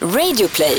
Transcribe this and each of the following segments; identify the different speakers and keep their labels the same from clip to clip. Speaker 1: Radioplay.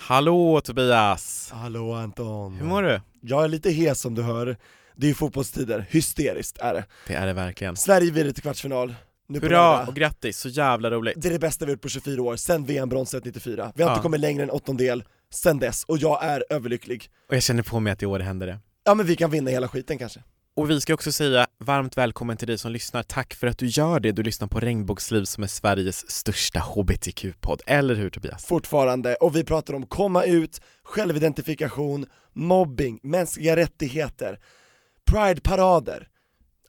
Speaker 2: Hallå Tobias!
Speaker 3: Hallå Anton.
Speaker 2: Hur mår du?
Speaker 3: Jag är lite hes som du hör. Det är ju fotbollstider, hysteriskt är det.
Speaker 2: Det är det verkligen.
Speaker 3: Sverige vidare till kvartsfinal. Nu på
Speaker 2: Hurra och
Speaker 3: lördag.
Speaker 2: grattis, så jävla roligt.
Speaker 3: Det är det bästa vi gjort på 24 år, sen VM-bronset 94. Vi har
Speaker 2: Ja.
Speaker 3: inte kommit längre än åttondel sen dess, och jag är överlycklig.
Speaker 2: Och jag känner på mig att i år händer det.
Speaker 3: Ja men vi kan vinna hela skiten kanske.
Speaker 2: Och vi ska också säga varmt välkommen till dig som lyssnar. Tack för att du gör det. Du lyssnar på Regnbågsliv som är Sveriges största hbtq-podd. Eller hur Tobias?
Speaker 3: Fortfarande, och vi pratar om komma ut, självidentifikation, mobbing, mänskliga rättigheter, pride-parader,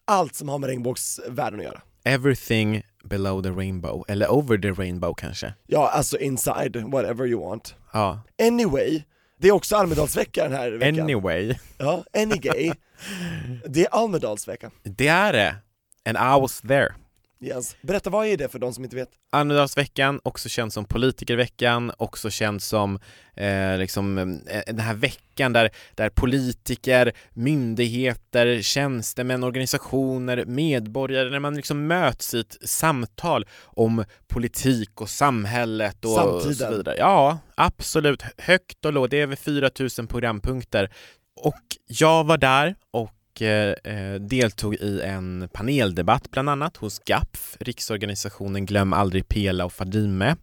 Speaker 3: allt som har med regnbågsvärlden att göra.
Speaker 2: Everything below the rainbow, eller over the rainbow kanske.
Speaker 3: Ja, alltså inside, whatever you want.
Speaker 2: Ja,
Speaker 3: Anyway, det är också Almedalsvecka den här veckan.
Speaker 2: anyway.
Speaker 3: Ja, any gay. Det är Almedalsveckan.
Speaker 2: Det är det. And I was there.
Speaker 3: Yes. Berätta, vad är det för de som inte vet?
Speaker 2: Almedalsveckan, också känd som politikerveckan, också känd som eh, liksom, eh, den här veckan där, där politiker, myndigheter, tjänstemän, organisationer, medborgare, när man liksom möts i ett samtal om politik och samhället och, och så
Speaker 3: Samtiden.
Speaker 2: vidare. Ja, absolut. Högt och lågt. Det är över 4000 programpunkter. Och jag var där och eh, eh, deltog i en paneldebatt bland annat hos GAPF, Riksorganisationen Glöm aldrig Pela och Fadime.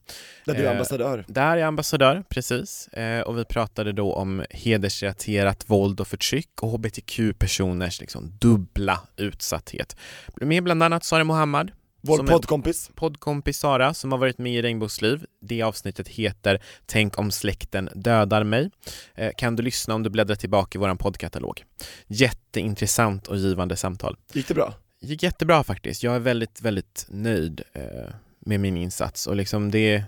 Speaker 3: Där du är
Speaker 2: Eh,
Speaker 3: ambassadör.
Speaker 2: Där är jag ambassadör, precis. Eh, och vi pratade då om hedersrelaterat våld och förtryck och hbtq-personers liksom dubbla utsatthet. Med bland annat Sara Mohammad,
Speaker 3: Vår
Speaker 2: som är-
Speaker 3: poddkompis.
Speaker 2: poddkompis Sara som har varit med i Regnbågsliv. Det avsnittet heter Tänk om släkten dödar mig. Eh, Kan du lyssna om du bläddrar tillbaka i vår poddkatalog. Jätteintressant och givande samtal.
Speaker 3: Gick det bra?
Speaker 2: gick jättebra faktiskt. Jag är väldigt, väldigt nöjd eh, med min insats och liksom det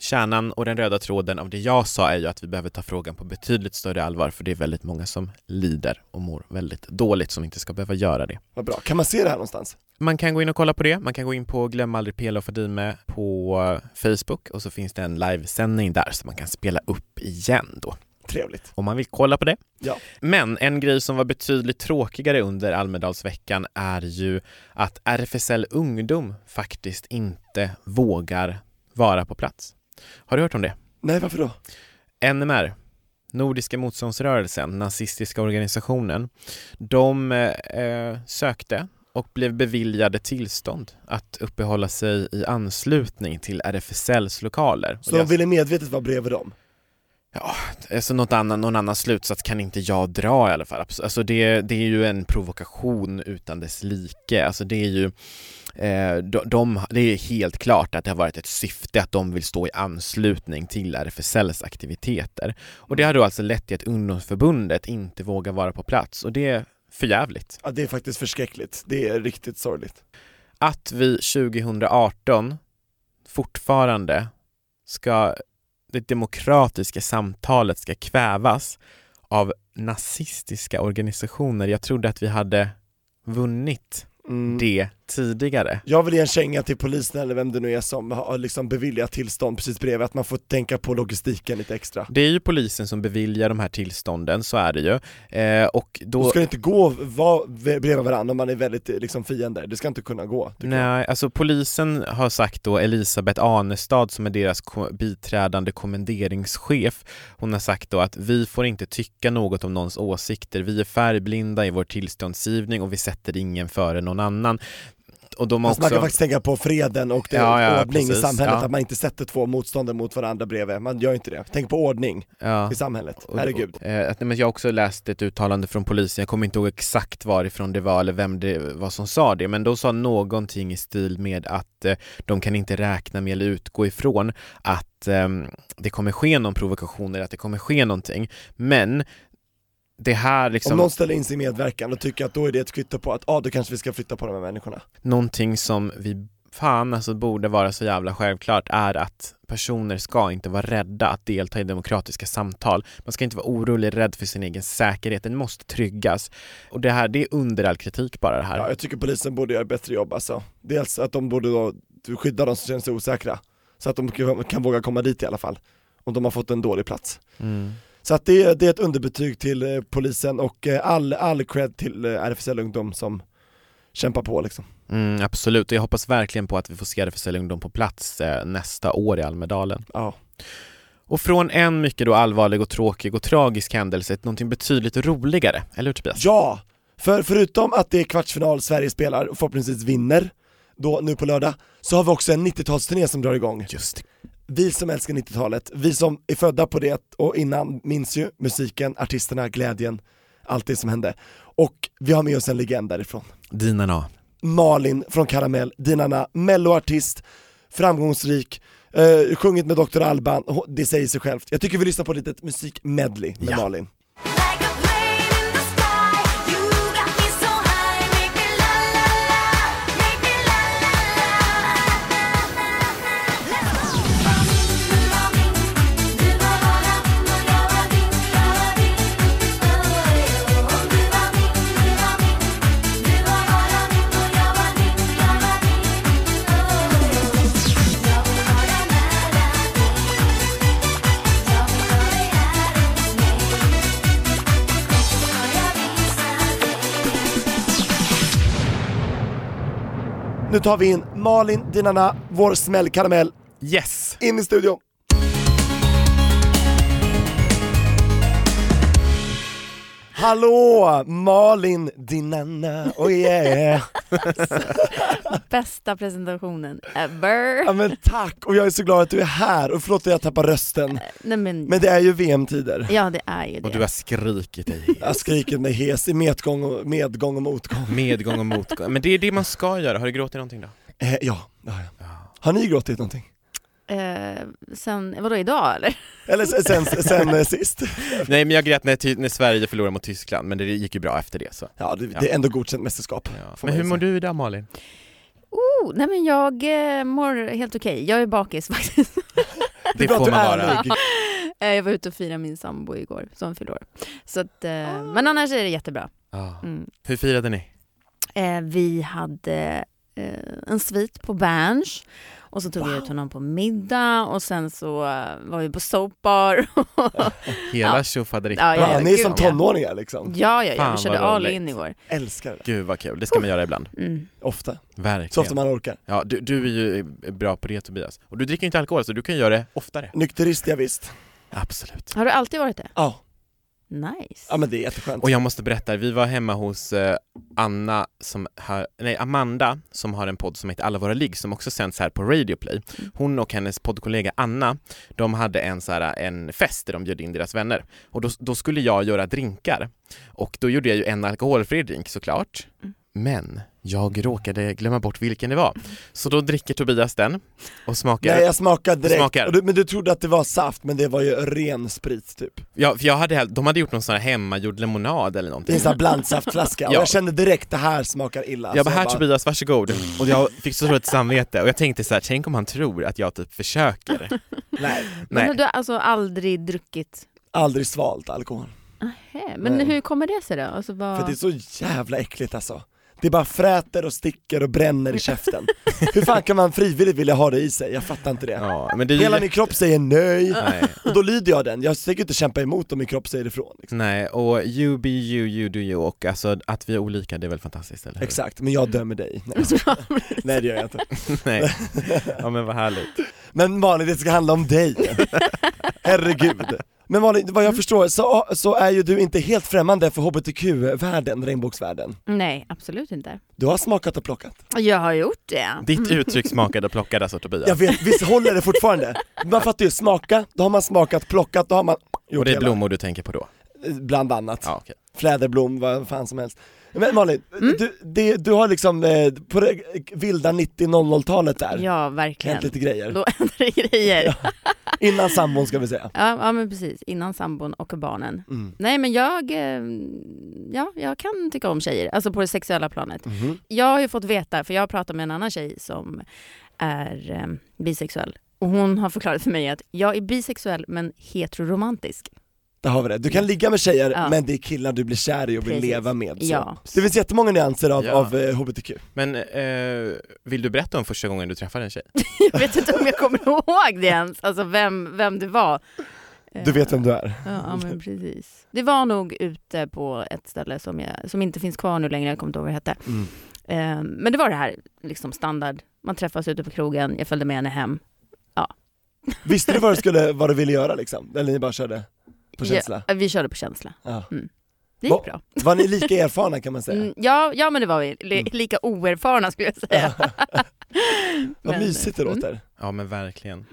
Speaker 2: Kärnan och den röda tråden av det jag sa är ju att vi behöver ta frågan på betydligt större allvar för det är väldigt många som lider och mår väldigt dåligt som inte ska behöva göra det.
Speaker 3: Vad bra. Kan man se det här någonstans?
Speaker 2: Man kan gå in och kolla på det. Man kan gå in på Glöm aldrig Pela och Fadime på eh, Facebook och så finns det en livesändning där som man kan spela upp igen då
Speaker 3: Trevligt.
Speaker 2: om man vill kolla på det.
Speaker 3: Ja.
Speaker 2: Men en grej som var betydligt tråkigare under Almedalsveckan är ju att RFSL Ungdom faktiskt inte vågar vara på plats. Har du hört om det?
Speaker 3: Nej, varför då?
Speaker 2: NMR, Nordiska motståndsrörelsen, nazistiska organisationen, de eh, eh, sökte och blev beviljade tillstånd att uppehålla sig i anslutning till RFSLs lokaler.
Speaker 3: Så
Speaker 2: Och alltså
Speaker 3: de
Speaker 2: jag-
Speaker 3: ville medvetet vara bredvid dem?
Speaker 2: Alltså något annan, någon annan slutsats kan inte jag dra i alla fall. Abs- Alltså det, det är ju en provokation utan dess like. Alltså det är ju, eh, de, de, det är helt klart att det har varit ett syfte att de vill stå i anslutning till RFSLs aktiviteter. Och det har då alltså lett till att ungdomsförbundet inte vågar vara på plats och det är för jävligt
Speaker 3: Ja, det är faktiskt förskräckligt. Det är riktigt sorgligt.
Speaker 2: att vi 2018 fortfarande ska, det demokratiska samtalet ska kvävas av nazistiska organisationer. Jag trodde att vi hade vunnit
Speaker 3: Mm.
Speaker 2: det tidigare.
Speaker 3: Jag vill ge en känga till polisen eller vem det nu är som har liksom beviljat tillstånd precis bredvid, att man får tänka på logistiken lite extra.
Speaker 2: Det är ju polisen som beviljar de här tillstånden, så är det ju. Eh, och då...
Speaker 3: Då ska det inte gå att vara bredvid varandra om man är väldigt eh, liksom, fiender, det ska inte kunna gå. tycker jag.
Speaker 2: Nej, alltså polisen har sagt då Elisabeth Anestad som är deras ko- biträdande kommenderingschef. Hon har sagt då att vi får inte tycka något om någons åsikter. Vi är färgblinda i vår tillståndsgivning och vi sätter ingen före någon annan. Och de har
Speaker 3: Fast Alltså, man kan
Speaker 2: också...
Speaker 3: faktiskt tänka på freden och det
Speaker 2: Ja, ja,
Speaker 3: ordning
Speaker 2: precis.
Speaker 3: i samhället,
Speaker 2: Ja.
Speaker 3: att man inte sätter två motståndare mot varandra bredvid, man gör ju inte det. Tänk på ordning
Speaker 2: Ja.
Speaker 3: i samhället,
Speaker 2: Och-
Speaker 3: herregud.
Speaker 2: och, eh, att- nej, men jag har också läst ett uttalande från polisen, jag kommer inte ihåg exakt varifrån det var eller vem det var som sa det, men de sa någonting i stil med att eh, de kan inte räkna med eller utgå ifrån att ehm, det kommer ske någon provokation eller att det kommer ske någonting. Men det här liksom...
Speaker 3: Om någon ställer in sin medverkan, då tycker jag att då är det ett kvitto på att, ja ah, då kanske vi ska flytta på de här människorna.
Speaker 2: någonting som vi fan alltså borde vara så jävla självklart är att personer ska inte vara rädda att delta i demokratiska samtal. Man ska inte vara orolig, rädd för sin egen säkerhet. Den måste tryggas. Och det här, det är under all kritik bara det här.
Speaker 3: Ja, jag tycker polisen borde göra ett bättre jobb alltså. Dels att de borde då skydda de som känner sig osäkra, så att de kan- kan våga komma dit i alla fall, om de har fått en dålig plats.
Speaker 2: Mm.
Speaker 3: Så att det, är- det är ett underbetyg till eh, polisen och eh, all, all cred till eh, RFSL Ungdom som kämpa på liksom.
Speaker 2: Mm, absolut, och jag hoppas verkligen på att vi får se det för Sälj Ungdom på plats eh, nästa år i Almedalen.
Speaker 3: Ja.
Speaker 2: Och från en mycket då allvarlig och tråkig och tragisk händelse till någonting betydligt roligare, eller hur Tobias?
Speaker 3: Ja! För förutom att det är kvartsfinal Sverige spelar och förhoppningsvis vinner då nu på lördag, så har vi också en 90-talsturné som drar igång.
Speaker 2: Just det.
Speaker 3: Vi som älskar 90-talet, vi som är födda på det och innan minns ju musiken, artisterna, glädjen, allt det som hände. Och vi har med oss en legend därifrån.
Speaker 2: Dinarna.
Speaker 3: Malin från Karamell, Dinarna, melloartist, framgångsrik, eh, sjungit med Dr. Alban, Hon- det säger sig självt. Jag tycker vi lyssnar på ett litet musikmedley med
Speaker 2: Ja.
Speaker 3: Malin.
Speaker 1: Like a plane in the sky, you got me so high, make me la la la, make me la la la. Let's go.
Speaker 3: Nu tar vi in Malin Dinarna, vår smällkaramell,
Speaker 2: Yes!
Speaker 3: in i studion. Hallå! Malin Dinarna, oh yeah!
Speaker 4: Bästa presentationen ever.
Speaker 3: Ja men tack, och jag är så glad att du är här, och förlåt att jag tappar rösten,
Speaker 4: Nej, men,
Speaker 3: men det är ju VM-tider.
Speaker 4: ja det är ju
Speaker 2: Och du
Speaker 4: det.
Speaker 2: har skrikit dig
Speaker 3: Jag skriker mig hes i medgång och, medgång och motgång.
Speaker 2: medgång och motgång. Men det är det man ska göra. Har du gråtit någonting då?
Speaker 3: Eh, ja, det har jag. Har ni gråtit någonting?
Speaker 4: Eh, sen, vadå idag eller?
Speaker 3: Eller sen, sen, sen eh, sist?
Speaker 2: Nej men jag grät när, ty- när Sverige förlorade mot Tyskland, men det gick ju bra efter det så.
Speaker 3: Ja, det, det är ändå godkänt mästerskap.
Speaker 2: Ja.
Speaker 3: får
Speaker 2: Men
Speaker 3: man
Speaker 2: hur
Speaker 3: ju
Speaker 2: mår
Speaker 3: säga.
Speaker 2: du idag Malin?
Speaker 4: Oh, nej men jag eh, mår helt okej. Jag är bakis faktiskt.
Speaker 2: Det
Speaker 3: är bra
Speaker 2: får
Speaker 3: att du
Speaker 2: man
Speaker 3: är
Speaker 2: vara.
Speaker 3: ärlig.
Speaker 4: Eh, jag var ute och firade min sambo igår som fyllde år. Så att,
Speaker 2: Ah.
Speaker 4: eh, men annars är det jättebra.
Speaker 2: Ja.
Speaker 4: Mm.
Speaker 2: Hur firade ni?
Speaker 4: Eh, vi hade eh, en svit på Berns och så tog vi ut honom på middag och sen så eh, var vi på soapbar.
Speaker 2: Hela
Speaker 4: Ja.
Speaker 2: tjofaderickan.
Speaker 4: Ja, ja,
Speaker 3: Ja,
Speaker 4: ja,
Speaker 3: ni är
Speaker 4: gud,
Speaker 3: som
Speaker 4: ja.
Speaker 3: tonåringar liksom.
Speaker 4: ja, ja, ja,
Speaker 2: Fan,
Speaker 4: vi körde
Speaker 2: vad
Speaker 4: all
Speaker 2: roligt.
Speaker 4: in igår.
Speaker 3: Älskar det.
Speaker 2: Gud vad kul, det ska man göra ibland.
Speaker 4: Mm.
Speaker 3: Ofta. Så ofta
Speaker 2: Verkligen.
Speaker 3: man orkar.
Speaker 2: Ja, du, du är ju bra på det Tobias. Och du dricker ju inte alkohol så du kan göra det oftare.
Speaker 3: Nykterist, ja, visst.
Speaker 2: Absolut.
Speaker 4: Har du alltid varit det?
Speaker 3: Ja,
Speaker 4: Nice.
Speaker 3: ja men det är jätteskönt.
Speaker 2: Och jag måste berätta, vi var hemma hos eh, Anna som har, nej, Amanda som har en podd som heter Alla våra ligg som också sänds här på Radio Play. Hon och hennes poddkollega Anna, de hade en, så här, en fest där de bjöd in deras vänner. Och då, då skulle jag göra drinkar. Och då gjorde jag ju en alkoholfri drink såklart. Men jag råkade glömma bort vilken det var. Så då dricker Tobias den och smakar.
Speaker 3: Nej jag smakade direkt,
Speaker 2: Smakar.
Speaker 3: Och du, men du trodde att det var saft men det var ju ren sprit typ.
Speaker 2: Ja, för jag hade, hällt- de hade gjort någon sån här hemmagjord lemonad eller
Speaker 3: Det är
Speaker 2: någonting.
Speaker 3: en sån här blandsaftflaska och
Speaker 2: Ja.
Speaker 3: jag kände direkt det här smakar illa.
Speaker 2: Jag
Speaker 3: Så
Speaker 2: Alltså, bara, här typ- Tobias, varsågod. Och jag fick så dåligt samvete och jag tänkte så här, tänk om han tror att jag typ försöker.
Speaker 3: Nej,
Speaker 4: Men
Speaker 2: Nej.
Speaker 4: du har alltså aldrig druckit?
Speaker 3: aldrig svalt alkohol.
Speaker 4: Nähä, Men
Speaker 3: Nej.
Speaker 4: hur kommer det sig då? Alltså vad...
Speaker 3: För det är så jävla äckligt alltså. Det bara fräter och sticker och bränner i käften. Hur fan kan man frivilligt vilja ha det i sig? Jag fattar inte det.
Speaker 2: Ja, men det är ju
Speaker 3: Hela
Speaker 2: jätte-
Speaker 3: min kropp säger nej,
Speaker 2: Nej,
Speaker 3: och då lyder jag den. Jag tänker inte kämpa emot om min kropp säger ifrån. Liksom.
Speaker 2: nej, och you be you, you do you och alltså att vi är olika det är väl fantastiskt eller hur?
Speaker 3: Exakt, men jag dömer dig. Nej, nej det gör jag inte.
Speaker 2: Nej. Ja men vad härligt.
Speaker 3: Men Malin, det ska handla om dig. Herregud. Men Malin,
Speaker 2: Mm.
Speaker 3: vad jag förstår så, så är ju du inte helt främmande för hbtq-världen, regnbågsvärlden.
Speaker 4: Nej, absolut inte.
Speaker 3: Du har smakat och plockat.
Speaker 4: Jag har gjort det.
Speaker 2: Ditt uttryck smakade och plockade alltså Tobias.
Speaker 3: Jag vet, visst håller det fortfarande? Man fattar ju, smaka, då har man smakat, plockat, då har man gjort
Speaker 2: Och det är
Speaker 3: hela.
Speaker 2: blommor du tänker på då?
Speaker 3: Bland annat.
Speaker 2: Ja okej.
Speaker 3: Fläderblom, vad fan som helst. Men Malin,
Speaker 2: Mm.
Speaker 3: du, det, du har liksom eh, på det vilda 90-00-talet där,
Speaker 4: Ja,
Speaker 3: hänt
Speaker 4: verkligen.
Speaker 3: lite grejer.
Speaker 4: Då händer det grejer. Ja.
Speaker 3: Innan sambon ska vi säga.
Speaker 4: Ja, men precis. Innan sambon och barnen.
Speaker 3: Mm.
Speaker 4: Nej, men jag, eh, ja, jag kan tycka om tjejer, alltså på det sexuella planet.
Speaker 3: Mhm.
Speaker 4: Jag har ju fått veta, för jag har pratat med en annan tjej som är eh, bisexuell. Och hon har förklarat för mig att jag är bisexuell men heteroromantisk.
Speaker 3: Där har vi det. Du kan ligga med tjejer,
Speaker 4: Ja.
Speaker 3: men det är killar du blir kär i och vill
Speaker 4: Precis.
Speaker 3: leva med. Så.
Speaker 4: Ja.
Speaker 3: Det finns jättemånga nyanser av,
Speaker 2: Ja.
Speaker 3: av eh, HBTQ.
Speaker 2: Men eh, vill du berätta om första gången du träffade en tjej?
Speaker 4: Jag vet inte om jag kommer ihåg det ens, alltså vem, vem det var.
Speaker 3: Du vet vem du är.
Speaker 4: Ja, ja, men
Speaker 3: Mm.
Speaker 4: precis. Det var nog ute på ett ställe som, jag, som inte finns kvar nu längre, jag kommer inte ihåg vad det hette. Eh, men det var det här liksom standard, man träffas ute på krogen, jag följde med henne hem.
Speaker 3: Visste du vad du, skulle, vad du ville göra liksom? Eller ni bara körde på känsla?
Speaker 4: Ja, vi körde på känsla. Mm.
Speaker 3: Ja.
Speaker 4: Det gick
Speaker 3: Va-
Speaker 4: bra.
Speaker 3: Var ni lika erfarna kan man säga?
Speaker 4: Mm, ja, ja men det var vi, li,
Speaker 3: Mm.
Speaker 4: lika oerfarna skulle jag säga.
Speaker 3: vad
Speaker 4: men- mm,
Speaker 3: mysigt det låter.
Speaker 2: Ja men verkligen.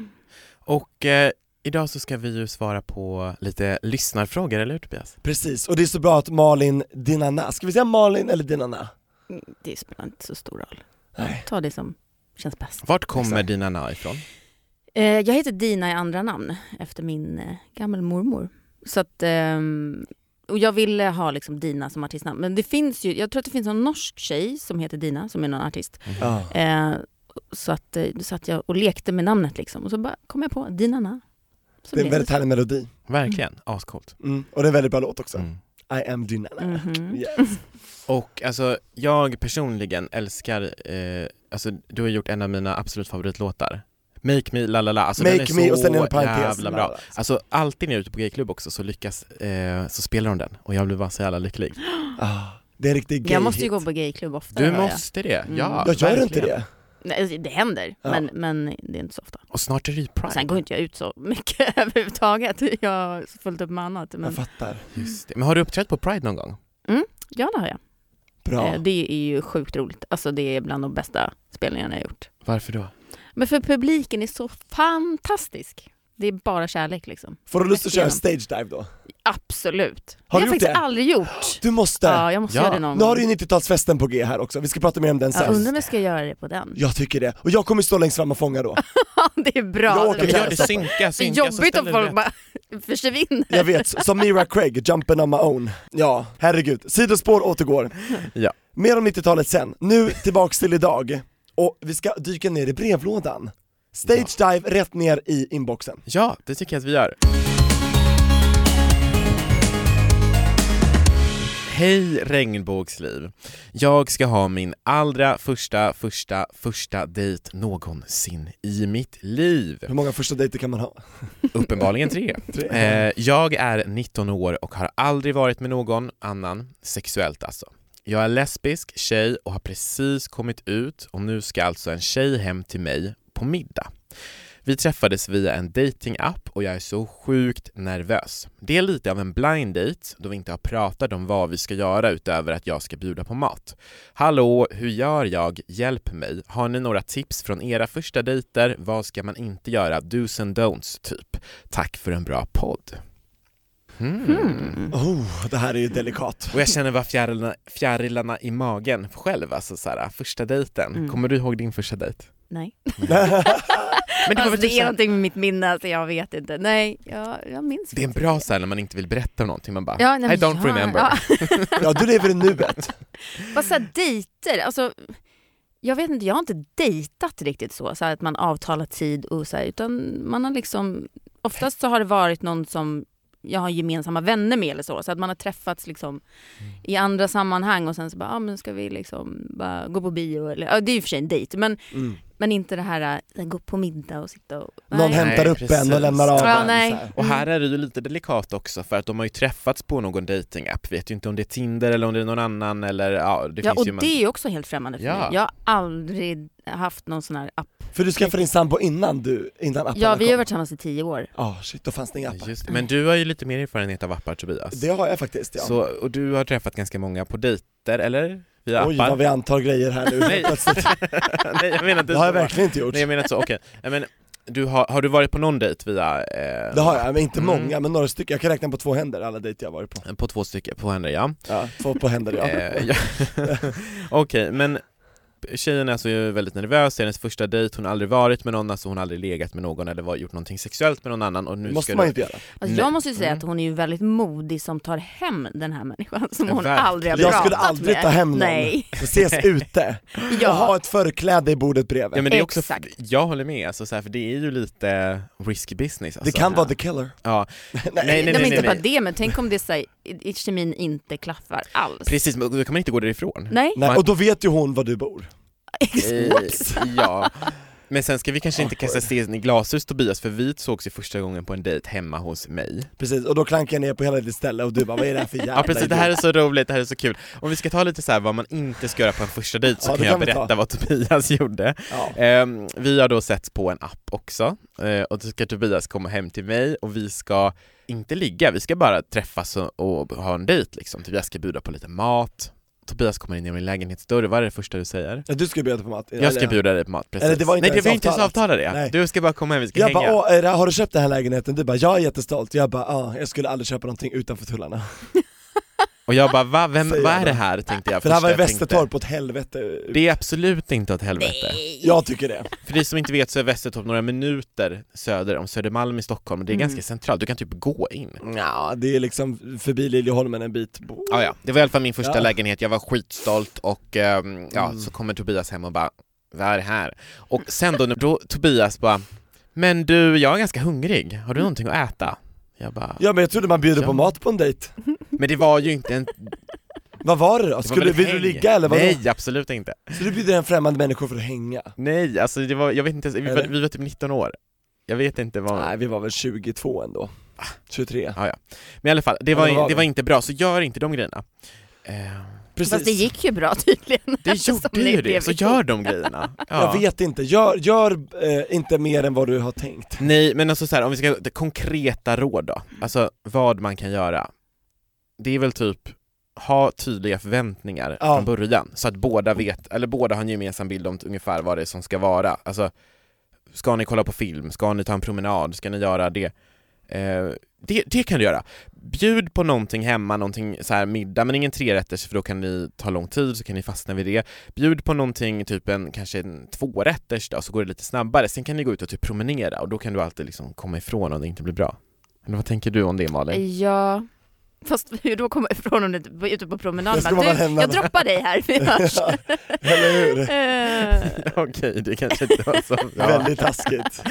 Speaker 2: Och eh, idag så ska vi ju svara på lite lyssnarfrågor, eller hur Tobias?
Speaker 3: Precis, och det är så bra att Malin Dinana, ska vi säga Malin eller Dinana?
Speaker 4: Det spelar inte så stor roll.
Speaker 3: Nej.
Speaker 4: Ta det som känns bäst.
Speaker 2: Vart kommer
Speaker 3: Exakt.
Speaker 2: dina na ifrån?
Speaker 4: Eh, jag heter Dina i andra namn efter min eh, gammelmormor. Så att, ehm, och jag ville ha liksom Dina som artistnamn. Men det finns ju, jag tror att det finns en norsk tjej som heter Dina som är någon artist.
Speaker 3: Ja.
Speaker 4: Eh, så att, eh, då satt jag och lekte med namnet liksom. Och så bara kom jag på Dina Na. Så
Speaker 3: Det är en
Speaker 4: blev
Speaker 3: väldigt härlig melodi,
Speaker 2: Verkligen, ascoolt.
Speaker 3: mm. och det är en väldigt bra låt också.
Speaker 2: Mm.
Speaker 3: I am Dinana.
Speaker 4: Mhm.
Speaker 3: Yes.
Speaker 2: Och alltså, jag personligen älskar, eh, alltså du har gjort en av mina absolut favoritlåtar Make me la la la, alltså den
Speaker 3: Make
Speaker 2: är
Speaker 3: me
Speaker 2: så
Speaker 3: och sen en parentes.
Speaker 2: jävla bra Alltså alltid när jag är ute på gayklubb också så lyckas, eh, så spelar de den och jag blir bara så jävla lycklig
Speaker 3: Ah, det är en riktig gay
Speaker 4: Jag måste ju
Speaker 3: hit.
Speaker 4: gå på gayklubb oftare.
Speaker 2: Du
Speaker 4: hör jag.
Speaker 2: måste det,
Speaker 4: Mm.
Speaker 2: ja
Speaker 3: Jag gör inte
Speaker 2: verkligen.
Speaker 3: det.
Speaker 4: Nej, det händer,
Speaker 3: Ja.
Speaker 4: men, men det är inte så ofta.
Speaker 2: Och snart är det ju
Speaker 4: Och sen
Speaker 2: pride
Speaker 4: går inte jag ut så mycket överhuvudtaget. Jag har fullt upp med annat. Men
Speaker 3: Jag fattar.
Speaker 2: Just det. Men har du uppträtt på pride någon gång?
Speaker 4: ja, det har jag.
Speaker 3: Bra.
Speaker 4: Eh, Det är ju sjukt roligt. Alltså det är bland de bästa spelningarna jag har gjort.
Speaker 2: Varför då?
Speaker 4: Men för publiken är så fantastisk. Det är bara kärlek liksom.
Speaker 3: Får du lust att köra
Speaker 4: Rätt
Speaker 3: stage dive då?
Speaker 4: Absolut.
Speaker 3: Har
Speaker 4: det
Speaker 3: du gjort
Speaker 4: har jag faktiskt
Speaker 3: det?
Speaker 4: aldrig gjort.
Speaker 3: Du måste!
Speaker 4: Ja, jag måste
Speaker 2: Ja.
Speaker 4: göra det någon
Speaker 3: nu har
Speaker 4: gång.
Speaker 3: du ju 90-talsfesten på G här också, vi ska prata mer om den
Speaker 4: Jag
Speaker 3: sen.
Speaker 4: undrar om jag ska göra det på den.
Speaker 3: Jag tycker det, och jag kommer stå längst fram och fånga då.
Speaker 4: det är bra.
Speaker 3: Jag
Speaker 4: Det
Speaker 3: åker
Speaker 4: är
Speaker 3: till
Speaker 4: bra.
Speaker 2: Gör det, synka,
Speaker 4: Det är
Speaker 2: synka så
Speaker 4: jobbigt
Speaker 2: ställer
Speaker 4: om
Speaker 2: du
Speaker 4: folk
Speaker 2: rätt.
Speaker 4: bara försvinner.
Speaker 3: Jag vet, som Mira Craig, jumping on my own. Ja, herregud. Sidospår återgår.
Speaker 2: Ja.
Speaker 3: Mer om 90-talet sen. Nu tillbaks till idag. Och vi ska dyka ner i brevlådan. Stage dive rätt ner i inboxen.
Speaker 2: Ja, det tycker jag att vi gör. Hej regnbågsliv! Jag ska ha min allra första, första, första dejt någonsin i mitt liv.
Speaker 3: Hur många första dejter kan man ha?
Speaker 2: Uppenbarligen tre. Eh, jag är 19 år och har aldrig varit med någon annan, sexuellt alltså. Jag är lesbisk tjej och har precis kommit ut och nu ska alltså en tjej hem till mig på middag. Vi träffades via en dating-app och jag är så sjukt nervös. Det är lite av en blind date då vi inte har pratat om vad vi ska göra utöver att jag ska bjuda på mat. Hallå, hur gör jag? Hjälp mig. Har ni några tips från era första dejter? Vad ska man inte göra? Do's and don'ts, typ. Tack för en bra podd. Hmm.
Speaker 4: Mm.
Speaker 3: Oh, det här är ju delikat.
Speaker 2: Och jag känner bara fjärilarna, fjärilarna i magen själv, alltså så här, första dejten.
Speaker 4: Mm.
Speaker 2: Kommer du ihåg din första dejt?
Speaker 4: Nej.
Speaker 2: Men det, var
Speaker 4: Alltså,
Speaker 2: väl
Speaker 4: det
Speaker 2: typ
Speaker 4: är
Speaker 2: så här,
Speaker 4: någonting med mitt minne, så jag vet inte. Nej, jag, jag minns
Speaker 2: det är en
Speaker 4: faktiskt
Speaker 2: bra
Speaker 4: inte.
Speaker 2: så här, när man inte vill berätta om någonting, man bara
Speaker 4: Ja, nej,
Speaker 2: I
Speaker 4: men
Speaker 2: don't
Speaker 4: ja,
Speaker 2: remember.
Speaker 4: ja.
Speaker 3: Ja, du lever i nuet.
Speaker 4: Vad såhär dejter, alltså jag vet inte, jag har inte dejtat riktigt så, så här att man avtalar tid och så här, utan man har liksom, oftast så har det varit någon som jag har gemensamma vänner med eller så, så att man har träffats liksom i andra sammanhang och sen så bara, ja ah, men ska vi liksom bara gå på bio eller, ja det är ju i och för sig en dejt men,
Speaker 3: Mm.
Speaker 4: men inte det här, äh, gå på middag och sitta och...
Speaker 3: Någon
Speaker 4: nej.
Speaker 3: hämtar
Speaker 2: Nej,
Speaker 3: upp
Speaker 2: precis.
Speaker 3: en och lämnar av
Speaker 4: Ja,
Speaker 3: en.
Speaker 4: nej.
Speaker 3: så här.
Speaker 2: Och här
Speaker 4: Mm.
Speaker 2: är det ju lite delikat också för att de har ju träffats på någon datingapp. vet ju inte om det är Tinder eller om det är någon annan eller ja, det
Speaker 4: Ja
Speaker 2: finns
Speaker 4: och
Speaker 2: ju en-
Speaker 4: det är ju också helt främmande för
Speaker 2: Ja.
Speaker 4: mig. Jag har aldrig haft någon sån här app.
Speaker 3: För du skaffade din sambo innan du, innan apparna
Speaker 4: Ja vi har ju
Speaker 3: kom.
Speaker 4: varit tillsammans i tio år.
Speaker 3: Ja, shit, då fanns det inga appar.
Speaker 2: Just det. Men du har ju lite mer erfarenhet av appar Tobias.
Speaker 3: Det har jag faktiskt ja.
Speaker 2: Så, och du har träffat ganska många på dejter, eller? Via
Speaker 3: Oj,
Speaker 2: appar?
Speaker 3: vad vi antar grejer här nu.
Speaker 2: Nej.
Speaker 3: Plötsligt.
Speaker 2: Nej, jag menar inte
Speaker 3: Det har jag
Speaker 2: så.
Speaker 3: verkligen inte gjort.
Speaker 2: Nej jag menar inte så, okej. Nej, Men du har, har du varit på någon dejt via... Eh,
Speaker 3: Det har jag, men inte
Speaker 2: Mm.
Speaker 3: många, men några stycken. Jag kan räkna på två händer alla dejter jag varit på.
Speaker 2: På två stycken, på henne ja.
Speaker 3: Ja, två på händer ja.
Speaker 2: Eh, ja. Okej, men tjejen är alltså ju väldigt nervös, det är hennes första dejt, hon har aldrig varit med någon, alltså hon har aldrig legat med någon eller var- gjort någonting sexuellt med någon annan och nu
Speaker 3: Det måste
Speaker 2: ska
Speaker 3: man
Speaker 2: du...
Speaker 3: inte göra.
Speaker 4: Alltså
Speaker 2: Nej.
Speaker 4: jag måste ju säga
Speaker 2: Mm.
Speaker 4: att hon är ju väldigt modig som tar hem den här människan som hon
Speaker 2: Verkligen.
Speaker 4: aldrig har
Speaker 3: Jag
Speaker 4: pratat
Speaker 3: skulle aldrig
Speaker 4: med.
Speaker 3: ta hem någon.
Speaker 4: Nej.
Speaker 3: Vi ses ute
Speaker 4: Ja.
Speaker 3: och ha ett förkläde i bordet bredvid.
Speaker 2: Ja, men det är också,
Speaker 4: Exakt.
Speaker 2: jag håller med, alltså, så här, för det är ju lite risky business alltså.
Speaker 3: det kan vara the killer.
Speaker 2: ja. nej, nej,
Speaker 4: Nej,
Speaker 2: nej, nej,
Speaker 4: men inte
Speaker 2: nej,
Speaker 4: bara det, men tänk om det så här, i- i- kemin inte klaffar alls.
Speaker 2: Precis, men då kan man inte gå därifrån.
Speaker 4: Nej,
Speaker 3: Nej, och då vet ju hon var du bor.
Speaker 2: Eh, ja. Men sen ska vi kanske inte kasta sten i glashus Tobias, för vi sågs ju första gången på en dejt hemma hos mig.
Speaker 3: Precis, och då klankar jag ner på hela ditt ställe och du bara vad är det här för jävla
Speaker 2: Ja precis, det här
Speaker 3: idiot?"
Speaker 2: är så roligt, det här är så kul. Om vi ska ta lite så här vad man inte ska göra på en första dejt så
Speaker 3: Ja, det
Speaker 2: kan jag
Speaker 3: kan vi
Speaker 2: berätta
Speaker 3: ta.
Speaker 2: vad Tobias gjorde.
Speaker 3: ja.
Speaker 2: Ehm, vi har då sett på en app också eh, och då ska Tobias komma hem till mig och vi ska inte ligga, vi ska bara träffas och, och ha en dejt liksom. Tobias ska bjuda på lite mat. Tobias kommer in i min lägenhetsdörr, vad är det första du säger?
Speaker 3: Ja, Du ska bjuda på mat
Speaker 2: Jag ska
Speaker 3: Eller-
Speaker 2: bjuda dig på mat, precis.
Speaker 3: Eller det var inte
Speaker 2: Nej det
Speaker 3: ens
Speaker 2: var inte ens
Speaker 3: avtalat.
Speaker 2: avtalat det.
Speaker 3: Nej.
Speaker 2: Du ska bara komma hem, vi ska
Speaker 3: Jag
Speaker 2: hänga.
Speaker 3: bara, Åh, är det- har du köpt den här lägenheten? Du bara, jag är jättestolt. Jag bara, ja, jag skulle aldrig köpa någonting utanför tullarna.
Speaker 2: och jag bara, va, vem,
Speaker 3: Säger
Speaker 2: vad är
Speaker 3: jag
Speaker 2: det
Speaker 3: då.
Speaker 2: här? tänkte jag
Speaker 3: För det här
Speaker 2: först.
Speaker 3: var i
Speaker 2: Jag tänkte,
Speaker 3: Västertorp åt helvete.
Speaker 2: Det är absolut inte åt helvete.
Speaker 3: Jag tycker det.
Speaker 2: För de som inte vet så är Västertorp några minuter söder om Södermalm i Stockholm, det är
Speaker 3: Mm.
Speaker 2: ganska centralt, du kan typ gå in.
Speaker 3: Ja, det är liksom förbi Liljeholmen en bit.
Speaker 2: Ja, Ah, ja. Det var i alla fall min första
Speaker 3: Ja. Mm.
Speaker 2: lägenhet, jag var skitstolt och ehm, ja, så kommer Tobias hem och bara Vad är det här? Och sen då, när- då Tobias bara Men du, jag är ganska hungrig, har du någonting att äta? Jag bara,
Speaker 3: Mm. Ja men jag trodde man bjuder
Speaker 2: Ja.
Speaker 3: på mat på en dejt.
Speaker 2: men det var ju inte en... det var
Speaker 3: Vad var det då?
Speaker 2: väl
Speaker 3: Skulle,
Speaker 2: ett
Speaker 3: vill du
Speaker 2: häng.
Speaker 3: ligga eller vadå?
Speaker 2: Nej, absolut inte.
Speaker 3: Så du bjuder en främmande människa för att hänga?
Speaker 2: Nej, alltså det var, jag vet inte, ens- vi var,
Speaker 3: Eller?
Speaker 2: vi var typ 19 år. Jag vet inte vad...
Speaker 3: Nej, vi var väl 22 ändå. 23.
Speaker 2: Men i alla fall, det
Speaker 3: Ja,
Speaker 2: var,
Speaker 3: det var
Speaker 2: det
Speaker 3: det.
Speaker 2: var inte bra, så gör inte de grejerna. Eh,
Speaker 3: Precis.
Speaker 4: Fast det gick ju bra tydligen.
Speaker 3: Alltså,
Speaker 2: Det
Speaker 4: eftersom
Speaker 2: gjorde ju
Speaker 4: ni
Speaker 2: det,
Speaker 4: blev
Speaker 2: så
Speaker 4: ihop.
Speaker 2: gör de grejerna. Ja.
Speaker 3: Jag vet inte, gör, gör eh, inte mer än vad du har tänkt.
Speaker 2: Nej, men alltså så här, om vi ska, det konkreta råd då, alltså vad man kan göra. Det är väl typ, ha tydliga förväntningar
Speaker 3: Ja.
Speaker 2: från början, så att båda vet, eller båda har en gemensam bild om ungefär vad det är som ska vara. Alltså, ska ni kolla på film? Ska ni ta en promenad? Ska ni göra det? Eh, det, det kan du göra. Bjud på någonting hemma, någonting så här middag, men ingen trerätters för då kan ni ta lång tid, så kan ni fastna vid det. Bjud på någonting, typ en kanske en tvårätters då, så går det lite snabbare. Sen kan ni gå ut och typ promenera och då kan du alltid liksom komma ifrån om det inte blir bra. Eller vad tänker du om det Malin?
Speaker 4: Ja. Fast hur då kommer jag ifrån om du inte var ute på promenaden?
Speaker 3: Jag ska
Speaker 4: Bara,
Speaker 3: bara
Speaker 4: Du,
Speaker 3: lämna
Speaker 4: jag
Speaker 3: den."
Speaker 4: droppar dig här, vi hörs.
Speaker 3: Eller hur?
Speaker 4: Eh,
Speaker 2: Okej, det kanske inte var så bra.
Speaker 3: Väldigt taskigt.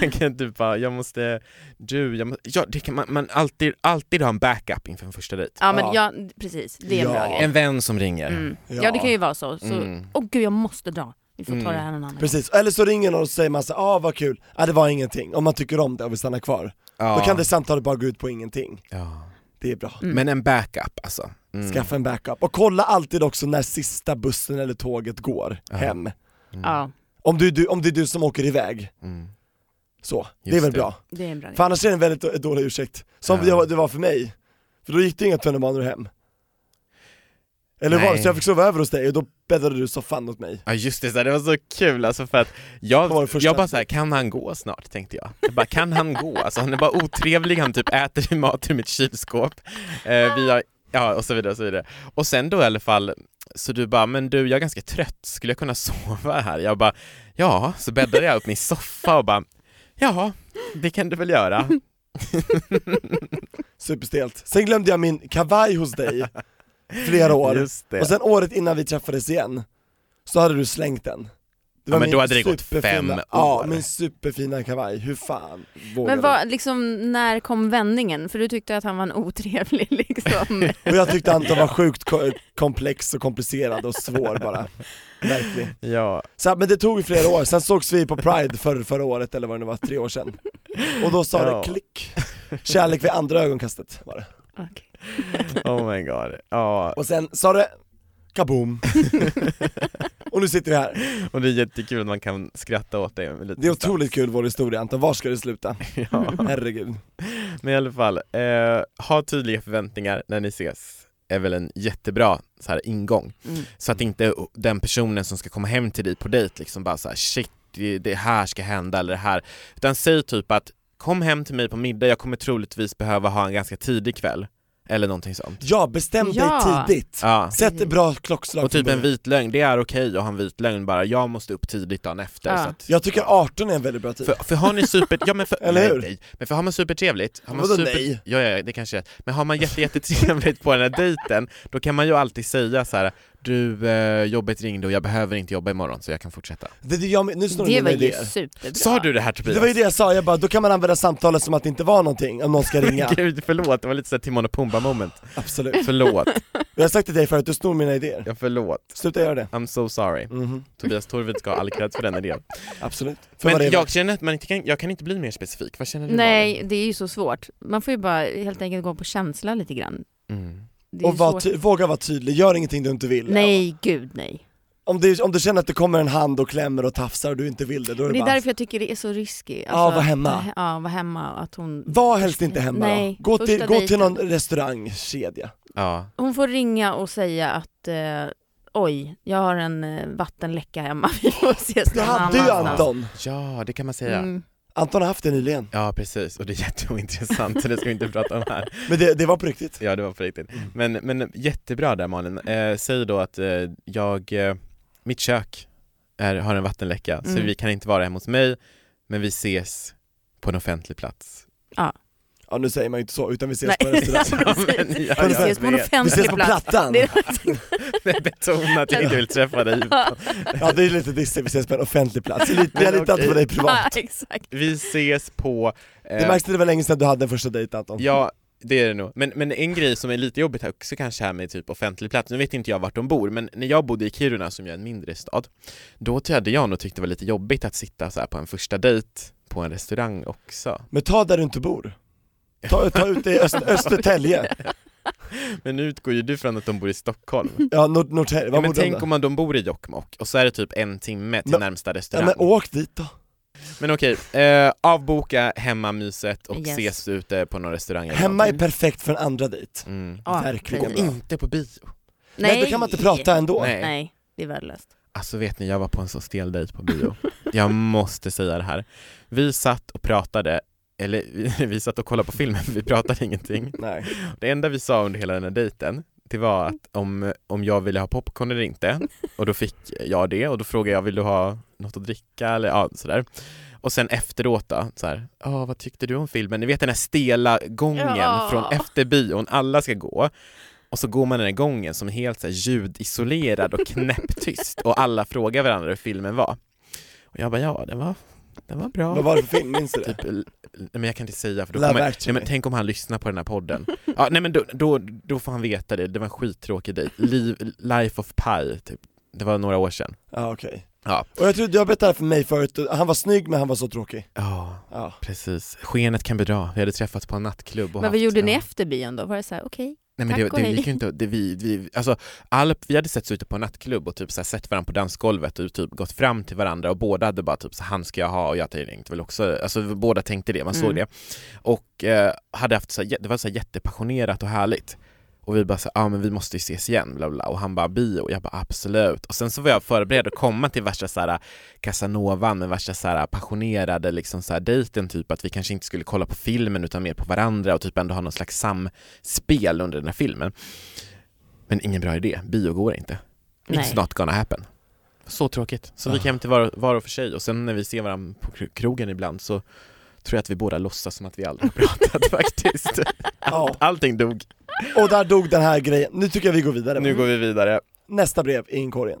Speaker 2: Man kan typ bara, jag måste, du, jag måste, ja, det kan man, man alltid, alltid ha en backup inför en första dejt.
Speaker 4: ja, men
Speaker 3: Ja.
Speaker 4: ja, precis. Det är en
Speaker 3: Ja.
Speaker 4: bra grej.
Speaker 2: En vän som ringer.
Speaker 4: Mm.
Speaker 3: Ja.
Speaker 4: Ja, det kan ju vara så. så
Speaker 2: Mm.
Speaker 4: Åh gud, jag måste dra. Vi får
Speaker 2: Mm.
Speaker 4: ta det här någon annan gång.
Speaker 3: Precis, eller så ringer någon och säger man så här, ah vad kul, ah, det var ingenting, om man tycker om det och vill stanna kvar.
Speaker 2: Ja.
Speaker 3: Då kan det samtalet bara gå ut på ingenting.
Speaker 2: ja.
Speaker 3: Det är bra.
Speaker 4: Mm.
Speaker 2: Men en backup alltså. Mm.
Speaker 3: Skaffa en backup. Och kolla alltid också när sista bussen eller tåget går
Speaker 2: Ja.
Speaker 3: hem.
Speaker 4: Ja,
Speaker 3: Om, du, du, om det är du som åker iväg,
Speaker 2: Mm.
Speaker 3: så. det är
Speaker 2: Just
Speaker 3: väl
Speaker 2: det.
Speaker 3: bra.
Speaker 4: det är en bra grej.
Speaker 3: För annars är det en väldigt då- dålig ursäkt. Som
Speaker 2: Ja.
Speaker 3: det var- det var för mig. För då gick det inga tunnelbanor hem. Eller hur var det?
Speaker 2: Nej.
Speaker 3: Så jag fick sova över hos dig och då bäddade du soffan åt mig.
Speaker 2: Ja just det, så här, det var så kul alltså för att
Speaker 3: Det var det
Speaker 2: jag,
Speaker 3: första.
Speaker 2: jag bara såhär, kan han gå snart? tänkte jag. jag bara, kan han gå? Alltså han är bara otrevlig, han typ äter mat ur mitt kylskåp. Eh, vi har, ja och så vidare och så vidare. Och sen då i alla fall, så du bara, men du jag är ganska trött, skulle jag kunna sova här? Jag bara, ja, så bäddade jag upp min soffa och bara, ja, det kan du väl göra.
Speaker 3: Superstelt. Sen glömde jag min kavaj hos dig flera år.
Speaker 2: Just det.
Speaker 3: Och sen året innan vi träffades igen, så hade du slängt den. Det
Speaker 2: Ja, men
Speaker 3: min
Speaker 2: då hade det gått
Speaker 3: superfina-
Speaker 2: fem år.
Speaker 3: Ja, min superfina kavaj. Hur fan vågade
Speaker 4: Men vad, liksom, när kom vändningen? För du tyckte att han var en otrevlig liksom.
Speaker 3: Och jag tyckte Anton var sjukt ko- komplex och komplicerad och svår bara. Verkligen.
Speaker 2: Ja,
Speaker 3: Så, men det tog ju flera år, sen sågs vi på Pride för, förra året eller vad det nu var, tre år sedan. Och då sa
Speaker 2: Ja.
Speaker 3: det klick. Kärlek vid andra ögonkastet var det.
Speaker 4: Okej.
Speaker 2: oh my god. Ja,
Speaker 3: Och sen sa det kaboom. Och nu sitter vi här.
Speaker 2: och det är jättekul att man kan skratta åt det. med lite
Speaker 3: Det är
Speaker 2: distans.
Speaker 3: otroligt kul vår historia Anton, var ska det sluta?
Speaker 2: Ja.
Speaker 3: Herregud.
Speaker 2: Men i alla fall, eh, ha tydliga förväntningar när ni ses är väl en jättebra så här, ingång.
Speaker 4: Mm.
Speaker 2: Så att inte den personen som ska komma hem till dig på dejt liksom bara så här, shit, det, det här ska hända eller det här. Utan säg typ att kom hem till mig på middag, jag kommer troligtvis behöva ha en ganska tidig kväll. Eller någonting sånt.
Speaker 3: Ja, bestäm
Speaker 4: Ja.
Speaker 3: dig tidigt.
Speaker 2: Ja.
Speaker 3: Sätt ett bra klockslag
Speaker 2: Och typ
Speaker 3: från
Speaker 2: en
Speaker 3: början.
Speaker 2: vit lögn, det är okej att ha en vit lögn bara, jag måste upp tidigt dagen efter.
Speaker 4: Ja.
Speaker 2: Så att,
Speaker 3: Jag tycker 18 är en väldigt bra tid.
Speaker 2: För, för har ni super... Ja, men för,
Speaker 3: Typ. Eller
Speaker 2: nej,
Speaker 3: hur?
Speaker 2: nej. Men för har man supertrevligt, har man
Speaker 3: Vadå
Speaker 2: super...
Speaker 3: nej?
Speaker 2: Ja, ja, ja, det kanske är. Men har man jätte, jättetrevligt på den här dejten, då kan man ju alltid säga så här: du, eh, jobbet ringde och jag behöver inte jobba imorgon så jag kan fortsätta.
Speaker 3: Det, det, jag, nu snor du
Speaker 4: Det
Speaker 3: mina
Speaker 4: var ju
Speaker 3: idéer.
Speaker 4: superbra.
Speaker 2: Sa du det här Tobias?
Speaker 3: Det var ju det jag sa, jag bara, då kan man använda samtalet som att det inte var någonting om någon ska ringa.
Speaker 2: Gud, förlåt, det var lite såhär Timon och Pumba moment.
Speaker 3: Absolut.
Speaker 2: Förlåt,
Speaker 3: Jag har sagt till dig förut, du snor mina idéer.
Speaker 2: jag förlåt.
Speaker 3: Sluta göra det.
Speaker 2: I'm so sorry.
Speaker 3: Mhm,
Speaker 2: Tobias Torvid ska ha all cred för den idén.
Speaker 3: Absolut. För vad det
Speaker 2: Men
Speaker 3: är
Speaker 2: jag
Speaker 3: värt.
Speaker 2: känner att man inte kan, jag kan inte bli mer specifik, vad känner du
Speaker 4: Nej, det är ju så svårt. Man får ju bara helt enkelt gå på känsla lite grann.
Speaker 2: Malin? Mm.
Speaker 4: Det är
Speaker 3: Och
Speaker 4: ju
Speaker 3: var
Speaker 4: svårt.
Speaker 3: ty- våga vara tydlig, gör ingenting du inte vill.
Speaker 4: Nej, gud nej.
Speaker 3: Om du, om du känner att det kommer en hand och klämmer och tafsar och du inte vill det, då är det,
Speaker 4: Det är
Speaker 3: bara,
Speaker 4: därför jag tycker det är så risky. Alltså,
Speaker 3: Ja, var hemma.
Speaker 4: Ja, var hemma. Att hon,
Speaker 3: var helst inte hemma
Speaker 4: Nej,
Speaker 3: då. Gå till,
Speaker 4: första
Speaker 3: gå till
Speaker 4: dejten.
Speaker 3: någon restaurangkedja.
Speaker 2: Ja,
Speaker 4: hon får ringa och säga att eh, oj, jag har en eh, vattenläcka hemma, vi får ses
Speaker 3: Det
Speaker 4: någon
Speaker 3: hade ju
Speaker 4: annanstans.
Speaker 3: Anton.
Speaker 2: ja det kan man säga.
Speaker 4: Mm.
Speaker 3: Anton har haft det nyligen.
Speaker 2: Ja precis, och det är jätteointressant så det ska vi inte prata om här.
Speaker 3: Men det, det var på riktigt. Mm.
Speaker 2: Ja det var på riktigt. Men, men jättebra där Malin. Eh, säg då att eh, jag, eh, mitt kök är, har en vattenläcka så
Speaker 4: Mm.
Speaker 2: vi kan inte vara hemma hos mig, men vi ses på en offentlig plats.
Speaker 3: Ja nu säger man ju inte så, utan vi ses
Speaker 4: Nej.
Speaker 3: på en restaurang.
Speaker 2: Ja,
Speaker 4: Precis.
Speaker 2: men jag-
Speaker 4: Vi
Speaker 2: jag vet.
Speaker 4: ses på en
Speaker 3: Vi ses
Speaker 4: offentlig
Speaker 3: på
Speaker 4: plats.
Speaker 3: Plattan!
Speaker 4: Det är-
Speaker 2: Betona att jag inte vill träffa dig.
Speaker 3: Ja det är lite dissigt, vi ses på en offentlig plats. Lite-
Speaker 2: Men
Speaker 3: Jag litar inte
Speaker 2: okej.
Speaker 3: på dig privat.
Speaker 4: Ja, exakt.
Speaker 2: Vi ses på... eh,
Speaker 3: Det märks att det var länge sedan du hade en första dejt Anton.
Speaker 2: Ja, det är det nog. Men, men en grej som är lite jobbigt här också kanske här med typ offentlig plats, nu vet inte jag vart de bor, men när jag bodde i Kiruna som är en mindre stad, då hade jag nog tyckt det var lite jobbigt att sitta så här på en första dejt på en restaurang också.
Speaker 3: Men ta där du inte bor. Ta, ta ut det i Öst, Östertälje.
Speaker 2: Men nu utgår ju du från att de bor i Stockholm.
Speaker 3: Ja, Nord, Norrtälje,
Speaker 2: Ja,
Speaker 3: vad
Speaker 2: men
Speaker 3: borde de
Speaker 2: tänk
Speaker 3: då?
Speaker 2: om man, de bor i Jokkmokk och så är det typ en timme till
Speaker 3: Men-
Speaker 2: närmsta
Speaker 3: Ja,
Speaker 2: restaurang.
Speaker 3: men
Speaker 2: men,
Speaker 3: åk dit då.
Speaker 2: okej, eh, avboka hemmamyset och
Speaker 4: Yes.
Speaker 2: ses ute på någon restaurang eller
Speaker 3: Hemma är
Speaker 2: någonting.
Speaker 3: perfekt för en andra dejt.
Speaker 2: mm.
Speaker 4: Ja,
Speaker 3: Verkligen.
Speaker 4: precis.
Speaker 2: Gå inte på bio.
Speaker 3: Nej. då kan man inte prata ändå.
Speaker 2: Nej.
Speaker 4: Nej, det är värdelöst.
Speaker 2: Alltså vet ni, jag var på en så stel dejt på bio. Jag måste säga det här. Vi satt och pratade, eller vi- vi satt och kollade på filmen, vi pratade ingenting.
Speaker 3: Nej.
Speaker 2: Det enda vi sa under hela den här dejten, det var att om, om jag ville ha popcorn eller inte, och då fick jag det, och då frågade jag vill du ha något att dricka eller ja, sådär. Och sen efteråt då, såhär, ja vad tyckte du om filmen? Ni vet den här stela gången
Speaker 4: Ja.
Speaker 2: från efter bion, alla ska gå. Och så går man den här gången som är helt så här, ljudisolerad och knäpptyst och alla frågar varandra hur filmen var. Och jag bara, ja den var, den var bra.
Speaker 3: Vad var det för film, minns du det?
Speaker 2: Typ, l- nej, men jag kan inte säga för då
Speaker 3: Love
Speaker 2: kommer, nej,
Speaker 3: actually.
Speaker 2: men tänk om han lyssnar på den här podden. Ja, nej men då, då, då får han veta det, det var en skittråkig dejt. Liv- Life of Pi, typ. Det var några år sedan.
Speaker 3: Ja okej.
Speaker 2: Ja.
Speaker 3: Och jag tror du har berättat det här för mig förut, han var snygg men han var så tråkig.
Speaker 2: Ja,
Speaker 3: Ja.
Speaker 2: precis. Skenet kan bedra. Vi hade träffats på en nattklubb och
Speaker 4: Men vad gjorde ni
Speaker 2: ja.
Speaker 4: efter bion då? Var det så här, okej?
Speaker 2: Nej men
Speaker 4: Tack och
Speaker 2: det, det
Speaker 4: hej.
Speaker 2: gick ju inte, det, vi, vi, alltså, all, vi hade setts ute på en nattklubb och typ så här, sett varandra på dansgolvet och typ gått fram till varandra och båda hade bara typ så här, han ska jag ha och jag tänkte väl också, alltså vi båda tänkte det, man såg
Speaker 4: Mm.
Speaker 2: det. Och eh, hade haft så här, jä- det var så här, jättepassionerat och härligt. Och vi bara så ja ah, men vi måste ju ses igen, bla bla, bla. Och han bara bio, och jag bara absolut. Och sen så var jag förberedd att komma till värsta så här casanovan med värsta så här passionerade liksom så här dejten typ att vi kanske inte skulle kolla på filmen utan mer på varandra och typ ändå ha någon slags samspel under den här filmen. Men ingen bra idé, bio går inte.
Speaker 4: Nej.
Speaker 2: It's not gonna happen. Så tråkigt. Så vi
Speaker 3: Ah.
Speaker 2: kan inte vara, vara för sig och sen när vi ser varandra på kro- krogen ibland så tror jag att vi båda låtsas som att vi aldrig har pratat faktiskt.
Speaker 3: ja.
Speaker 2: Allting dog.
Speaker 3: Och där dog den här grejen, nu tycker jag vi går vidare.
Speaker 2: Nu går vi vidare.
Speaker 3: Nästa brev i inkorgen.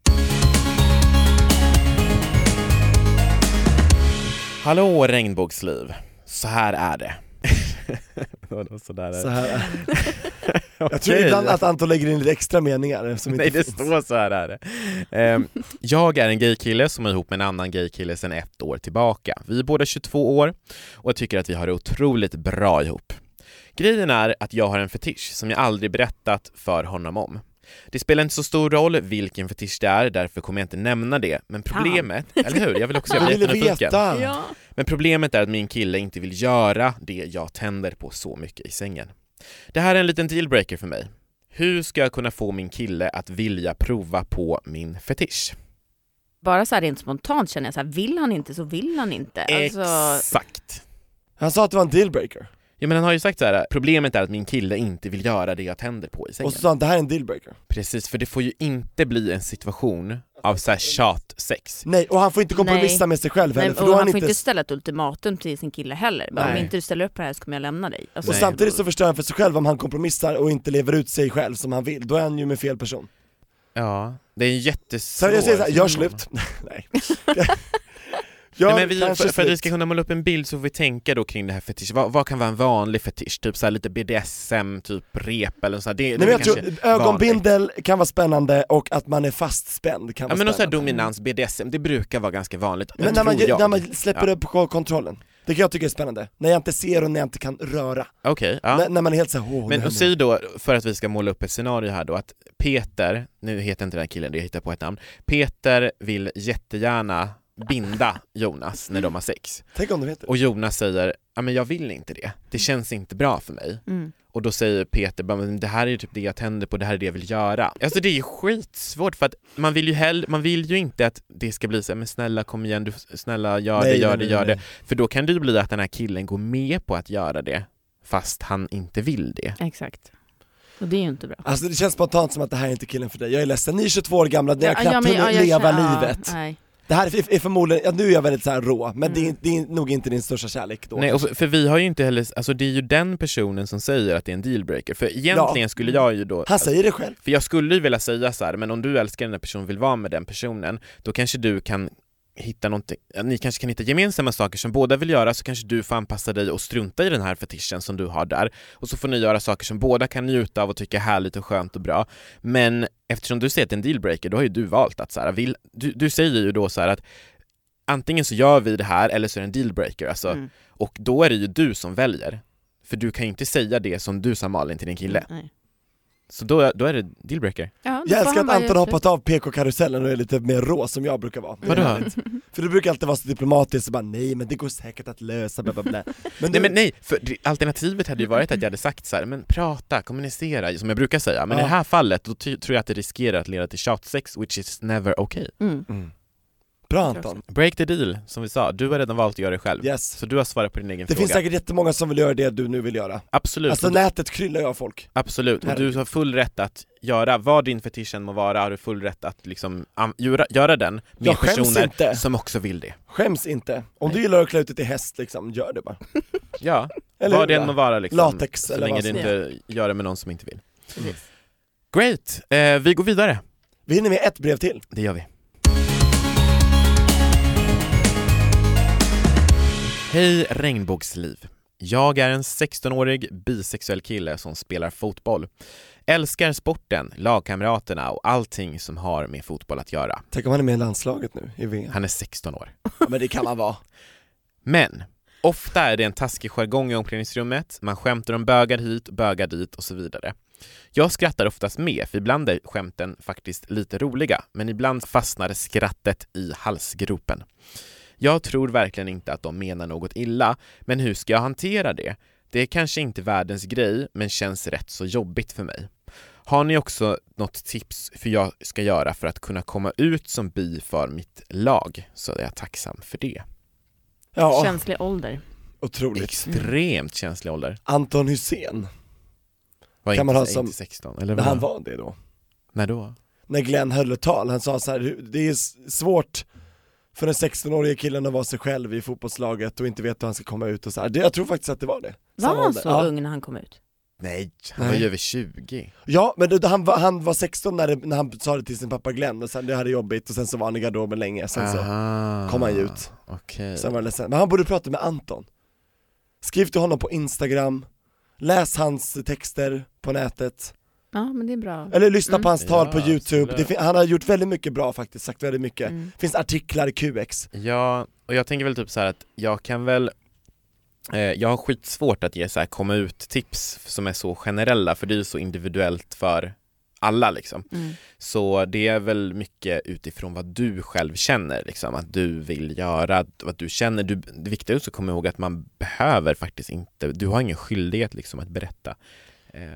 Speaker 2: Hallå regnbågsliv, så här är det. Vadå, så där är det?
Speaker 3: Så här. Jag tror
Speaker 2: Okej.
Speaker 3: ibland att Anton lägger in lite extra meningar som inte
Speaker 2: Nej det
Speaker 3: finns.
Speaker 2: står så här är det. Ehm, jag är en gaykille som är ihop med en annan gaykille sedan ett år tillbaka. Vi är båda 22 år och jag tycker att vi har det otroligt bra ihop. Grejen är att jag har en fetisch som jag aldrig berättat för honom om. Det spelar inte så stor roll vilken fetisch det är, därför kommer jag inte nämna det. Men problemet, eller hur? Jag vill också, jag
Speaker 3: Jag
Speaker 2: blir
Speaker 3: ville
Speaker 2: jättenyfiken.
Speaker 3: veta!
Speaker 4: Ja.
Speaker 2: Men problemet är att min kille inte vill göra det jag tänder på så mycket i sängen. Det här är en liten dealbreaker för mig. Hur ska jag kunna få min kille att vilja prova på min fetisch?
Speaker 4: Bara så här rent spontant känner jag så här, vill han inte så vill han inte. Alltså,
Speaker 2: Exakt!
Speaker 3: Han sa att det var en dealbreaker,
Speaker 2: Ja men han har ju sagt så här. problemet är att min kille inte vill göra det jag tänder på i sängen.
Speaker 3: och så sa han det här är en dealbreaker
Speaker 2: Precis, för det får ju inte bli en situation av såhär tjatsex.
Speaker 3: Nej, och han får inte kompromissa
Speaker 4: Nej.
Speaker 3: med sig själv heller
Speaker 4: men,
Speaker 3: för då
Speaker 4: och
Speaker 3: är
Speaker 4: han
Speaker 3: han
Speaker 4: får
Speaker 3: inte...
Speaker 4: inte ställa ett ultimatum till sin kille heller. Bara, Om
Speaker 2: Nej.
Speaker 4: inte du ställer upp på det här så kommer jag lämna dig. Alltså,
Speaker 3: Och
Speaker 2: Nej.
Speaker 3: samtidigt så förstör han för sig själv om han kompromissar och inte lever ut sig själv som han vill, då är han ju med fel person
Speaker 2: Ja, det är en jättesvår...
Speaker 3: Så jag säger såhär, gör
Speaker 2: situation.
Speaker 3: slut! Nej. Gör
Speaker 2: Nej, men vi,
Speaker 3: kanske
Speaker 2: för, för att vi
Speaker 3: slut.
Speaker 2: ska kunna måla upp en bild så får vi tänka då kring det här fetisch. Vad, vad kan vara en vanlig fetisch? Typ så här lite BDSM, typ rep eller nåt sånt. här. Det, det
Speaker 3: Nej, men
Speaker 2: är
Speaker 3: jag tror
Speaker 2: kanske vanligt.
Speaker 3: ögonbindel kan vara spännande och att man är fastspänd kan
Speaker 2: Ja
Speaker 3: vara
Speaker 2: men någon sån här
Speaker 3: spännande
Speaker 2: dominans, BDSM, det brukar vara ganska vanligt.
Speaker 3: Men när man,
Speaker 2: tror jag.
Speaker 3: när man släpper
Speaker 2: Ja.
Speaker 3: upp ko- kontrollen, det kan jag tycka är spännande, när jag inte ser och när jag inte kan röra,
Speaker 2: Okej, ja.
Speaker 3: när, när man är helt såhär åh,
Speaker 2: Men
Speaker 3: nej,
Speaker 2: och
Speaker 3: nej."
Speaker 2: säg då, för att vi ska måla upp ett scenario här då, att Peter, nu heter inte den här killen det, jag hittar på ett namn, Peter vill jättegärna binda Jonas när de har sex.
Speaker 3: Tänk om de heter
Speaker 2: Och Jonas säger, ja men jag vill inte det,
Speaker 3: Mm.
Speaker 2: det känns inte bra för mig.
Speaker 4: mm.
Speaker 2: Och då säger Peter, bara, men det här är ju typ det jag tänder på, det här är det jag vill göra. Alltså det är ju skitsvårt för att man vill ju hell, man vill ju inte att det ska bli så här, men snälla kom igen, du, snälla gör det,
Speaker 3: Nej,
Speaker 2: gör
Speaker 3: nej,
Speaker 2: det,
Speaker 3: nej,
Speaker 2: gör
Speaker 3: nej.
Speaker 2: det. För då kan det ju bli att den här killen går med på att göra det, fast han inte vill det.
Speaker 4: Exakt. Och det är ju inte bra.
Speaker 3: Alltså det känns spontant som att det här är inte killen för dig, jag är ledsen, ni är 22 år gamla, ni har knappt
Speaker 4: men-
Speaker 3: hunnit
Speaker 4: jag
Speaker 3: leva
Speaker 4: känner- ja,
Speaker 3: livet
Speaker 4: nej.
Speaker 3: Det här är, är förmodligen, ja, nu är jag väldigt såhär rå, men
Speaker 4: Mm.
Speaker 3: det, är, det är nog inte din största kärlek då
Speaker 2: Nej, och för, för vi har ju inte heller, alltså det är ju den personen som säger att det är en dealbreaker, för egentligen
Speaker 3: Ja.
Speaker 2: skulle jag ju då
Speaker 3: Han säger det själv,
Speaker 2: För jag skulle ju vilja säga så här, men om du älskar den här personen och vill vara med den personen, då kanske du kan hitta någonting, ja, ni kanske kan hitta gemensamma saker som båda vill göra, så kanske du får anpassa dig och strunta i den här fetischen som du har där, och så får ni göra saker som båda kan njuta av och tycka är härligt och skönt och bra. Men eftersom du säger att det är en dealbreaker, då har ju du valt att så här, vill, du, du säger ju då så här att antingen så gör vi det här eller så är det en dealbreaker, alltså,
Speaker 4: Mm.
Speaker 2: och då är det ju du som väljer. För du kan ju inte säga det som du sa Malin till din kille,
Speaker 4: Nej.
Speaker 2: så då, då är det dealbreaker.
Speaker 4: Ja, då får
Speaker 3: jag älskar
Speaker 4: han
Speaker 3: att
Speaker 4: bara
Speaker 3: Anton
Speaker 4: göra
Speaker 3: har hoppat av PK-karusellen och är lite mer rå som jag brukar vara Mm.
Speaker 2: Vadå?
Speaker 3: För du brukar alltid vara så diplomatisk och bara nej men det går säkert att lösa, bla bla bla Men,
Speaker 2: Nej
Speaker 3: nu-
Speaker 2: men nej, för det- alternativet hade ju varit att jag hade sagt så här, men prata, kommunicera, som jag brukar säga, men i
Speaker 3: Ja.
Speaker 2: det här fallet då ty- tror jag att det riskerar att leda till tjatsex, which is never okay.
Speaker 4: Mm.
Speaker 3: Bra Anton,
Speaker 2: Break the deal, som vi sa, du har redan valt att göra det själv.
Speaker 3: yes
Speaker 2: Så du har svarat på din egen
Speaker 3: Det
Speaker 2: fråga.
Speaker 3: finns säkert jättemånga som vill göra det du nu vill göra.
Speaker 2: Absolut,
Speaker 3: Alltså
Speaker 2: och du,
Speaker 3: nätet kryllar ju av folk.
Speaker 2: absolut. Och du har full rätt att göra vad din fetisch än må vara, har du full rätt att liksom am- göra, göra den med
Speaker 3: Jag skäms
Speaker 2: personer
Speaker 3: inte.
Speaker 2: som också vill det.
Speaker 3: Skäms inte. Om du gillar att klä ut dig till häst liksom, gör det bara.
Speaker 2: Ja,
Speaker 3: Eller
Speaker 2: vad det
Speaker 3: hur,
Speaker 2: än må
Speaker 3: va?
Speaker 2: vara liksom.
Speaker 3: Latex
Speaker 2: så
Speaker 3: eller
Speaker 2: länge
Speaker 3: vad
Speaker 2: du
Speaker 3: som
Speaker 2: inte gör det med någon som inte vill.
Speaker 4: Precis.
Speaker 2: Great, eh, vi går vidare.
Speaker 3: Vi hinner med ett brev till.
Speaker 2: Det gör vi. Hej regnbågsliv. Jag är en 16-årig bisexuell kille som spelar fotboll. Älskar sporten, lagkamraterna och allting som har med fotboll att göra.
Speaker 3: Tänk om han är med i landslaget nu, i VM.
Speaker 2: Han är 16 år.
Speaker 3: Ja, men det kan han vara.
Speaker 2: Men ofta är det en taskig jargong i omklädningsrummet, man skämtar om bögar hit, bögar dit och så vidare. Jag skrattar oftast med, för ibland är skämten faktiskt lite roliga, men ibland fastnar skrattet i halsgropen. Jag tror verkligen inte att de menar något illa, men hur ska jag hantera det? Det är kanske inte världens grej, men känns rätt så jobbigt för mig. Har ni också något tips för jag ska göra för att kunna komma ut som bi för mitt lag, så är jag tacksam för det.
Speaker 3: Ja,
Speaker 4: Känslig ålder.
Speaker 3: otroligt.
Speaker 2: Extremt känslig ålder.
Speaker 3: Anton Hussein,
Speaker 2: Var inte,
Speaker 3: Kan man ha
Speaker 2: inte
Speaker 3: som-
Speaker 2: 16, eller
Speaker 3: när
Speaker 2: vad?
Speaker 3: han var det då.
Speaker 2: När då?
Speaker 3: När Glenn höll ett tal, han sa så här, "Hur- det är s- svårt för den 16-årige killen att vara sig själv i fotbollslaget och inte veta hur han ska komma ut och så här. Det- Jag tror faktiskt att det var det.
Speaker 4: Var
Speaker 3: Samma
Speaker 4: han
Speaker 3: ålder.
Speaker 4: så
Speaker 3: ja.
Speaker 4: ung när han kom ut?
Speaker 2: Nej, han var
Speaker 3: Nej.
Speaker 2: ju över 20.
Speaker 3: Ja, men det, han, var, han var 16 när, det, när han sa det till sin pappa Glenn och sen det här är jobbigt och sen så var han i garderoben länge, sen så
Speaker 2: Aha,
Speaker 3: kom han ju ut.
Speaker 2: Okej.
Speaker 3: Sen var jag ledsen. Men han borde prata med Anton. Skriv till honom på Instagram, läs hans texter på nätet,
Speaker 4: Ja, men det är bra.
Speaker 3: eller lyssna på hans tal
Speaker 2: Ja,
Speaker 3: på youtube.
Speaker 2: absolut.
Speaker 3: Det fin- han har gjort väldigt mycket bra faktiskt, sagt väldigt mycket.
Speaker 4: Mm.
Speaker 3: Finns artiklar i QX.
Speaker 2: Ja, och jag tänker väl typ så här att jag kan väl eh, jag har skitsvårt att ge så här komma ut-tips som är så generella för det är ju så individuellt för alla liksom.
Speaker 4: Mm.
Speaker 2: Så det är väl mycket utifrån vad du själv känner, liksom, att du vill göra, vad du känner. Du, det viktiga är också att komma ihåg att man behöver faktiskt inte, du har ingen skyldighet liksom, att berätta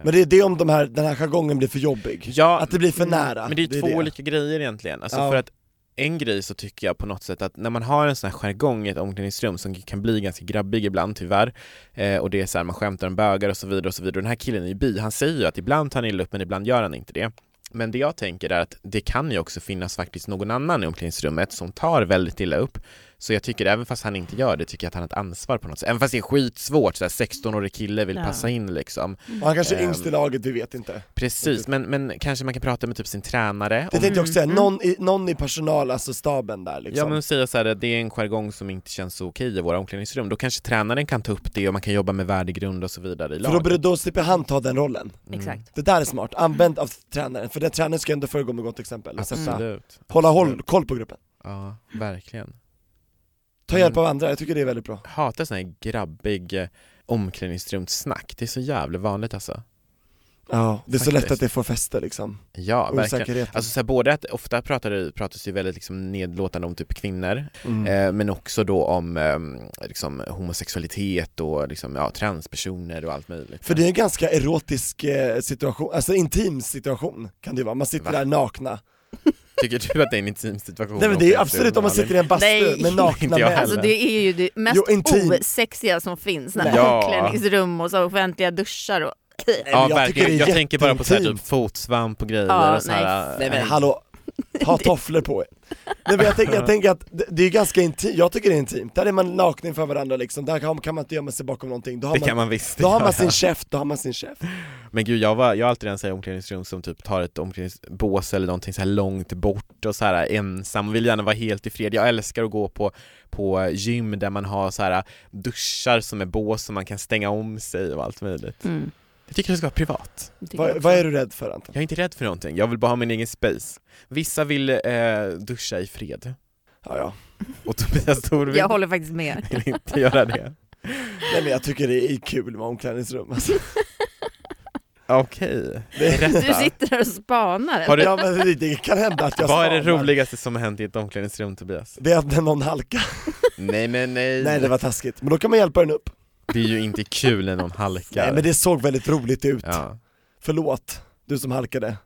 Speaker 3: Men det är det om de här, den här jargongen blir för jobbig.
Speaker 2: Ja,
Speaker 3: Att det blir för
Speaker 2: mm,
Speaker 3: nära.
Speaker 2: Men det är två
Speaker 3: det.
Speaker 2: olika grejer egentligen. Alltså
Speaker 3: Ja.
Speaker 2: för att en grej så tycker jag på något sätt att när man har en sån här jargong i ett omklädningsrum som kan bli ganska grabbig ibland tyvärr eh, och det är så här, man skämtar om bögar och så vidare och så vidare. Den här killen är ju bi, han säger ju att ibland tar han illa upp men ibland gör han inte det. Men det jag tänker är att det kan ju också finnas faktiskt någon annan i omklädningsrummet som tar väldigt illa upp. Så jag tycker även fast han inte gör det tycker jag att han har ett ansvar på något sätt. Även fast det är skitsvårt, så här 16-årig kille vill
Speaker 4: Ja.
Speaker 2: passa in liksom.
Speaker 3: Och han kanske är
Speaker 2: Ehm.
Speaker 3: yngst i laget, vi vet inte.
Speaker 2: Precis, men, men kanske man kan prata med typ sin tränare
Speaker 3: Det
Speaker 2: om
Speaker 3: tänkte jag också säga, någon i, någon i personal, alltså staben där
Speaker 2: Ja
Speaker 3: liksom.
Speaker 2: men säga så här, att det är en jargong som inte känns så okej i våra omklädningsrum, då kanske tränaren kan ta upp det och man kan jobba med värdegrund och så vidare i
Speaker 3: För då,
Speaker 2: laget.
Speaker 3: borde- då slipper han ta den rollen.
Speaker 4: Exakt.
Speaker 3: Det där är smart, använd av tränaren, för den tränaren ska ändå föregå med gott exempel. Och sätta,
Speaker 2: Absolut.
Speaker 3: Hålla
Speaker 2: Mm.
Speaker 3: håll, koll på gruppen.
Speaker 2: Ja, verkligen.
Speaker 3: Ta hjälp
Speaker 2: Mm.
Speaker 3: av andra, jag tycker det är väldigt bra.
Speaker 2: Hatar sån här grabbig eh, omklädningsrumssnack, det är så jävla vanligt alltså.
Speaker 3: Ja, det är så
Speaker 2: Faktiskt.
Speaker 3: lätt att det får fäste liksom.
Speaker 2: Ja, verkligen.
Speaker 3: Osäkerheten.
Speaker 2: Alltså så här, både att ofta pratar det, pratas det ju väldigt liksom nedlåtande om typ kvinnor,
Speaker 3: Mm.
Speaker 2: eh, men också då om eh, liksom, homosexualitet och liksom, ja, transpersoner och allt möjligt.
Speaker 3: För det är en ganska erotisk eh, situation, alltså intim situation kan det ju vara, man sitter
Speaker 2: Va? Oh,
Speaker 3: där nakna.
Speaker 2: Tycker du att det är en intim situation?
Speaker 3: Nej men det är ju absolut om man sitter i en bastu
Speaker 4: Nej.
Speaker 3: med nakna
Speaker 2: Inte jag
Speaker 3: män.
Speaker 2: heller.
Speaker 4: Alltså det är ju det mest
Speaker 3: Jo, intim.
Speaker 4: osexiga som finns, när
Speaker 2: Ja.
Speaker 4: omklädningsrum och så offentliga duschar och...
Speaker 2: Ja,
Speaker 3: men jag tycker
Speaker 2: verkligen.
Speaker 3: det är
Speaker 2: Jag tänker bara på så här, typ
Speaker 3: jätteintimt.
Speaker 2: fotsvamp och grejer
Speaker 4: Ja,
Speaker 2: och så här, äh,
Speaker 3: Nej men hallå, ha tofflor på er. Nej men jag tänker, jag tänker att det, det är ganska intimt, jag tycker det är intimt, där är man naken inför varandra liksom, där kan, kan man inte gömma sig bakom någonting, då har
Speaker 2: Det
Speaker 3: man,
Speaker 2: kan man visst
Speaker 3: då har man
Speaker 2: göra.
Speaker 3: sin käft, då har man sin käft.
Speaker 2: Men gud, jag, var, jag har alltid den så här i omklädningsrum som typ tar ett omklädningsbås eller någonting så här långt bort och så här ensam och vill gärna vara helt i fred. Jag älskar att gå på, på gym där man har så här duschar som är bås som man kan stänga om sig och allt möjligt.
Speaker 4: Mm,
Speaker 2: Jag tycker det ska vara privat.
Speaker 4: det
Speaker 3: Vad,
Speaker 4: också.
Speaker 3: vad är du rädd för Anton?
Speaker 2: Jag är inte rädd för någonting, jag vill bara ha min egen space. Vissa vill eh, duscha i fred
Speaker 3: Ja, ja.
Speaker 2: och Tobias Thorving
Speaker 4: Jag håller faktiskt med.
Speaker 2: vill inte göra det.
Speaker 3: Nej men jag tycker det är kul med omklädningsrum alltså.
Speaker 2: Okej, berätta.
Speaker 4: Du sitter där och spanar.
Speaker 2: Har du-
Speaker 3: Ja men det, det kan hända att jag
Speaker 2: Vad är det
Speaker 3: spanar.
Speaker 2: roligaste som har hänt i ett omklädningsrum Tobias?
Speaker 3: Det är att någon halkar.
Speaker 2: Nej men nej,
Speaker 3: Nej det var taskigt, men då kan man hjälpa den upp.
Speaker 2: det är ju inte kul när någon halkar.
Speaker 3: Nej men det såg väldigt roligt ut.
Speaker 2: Ja.
Speaker 3: Förlåt, du som halkade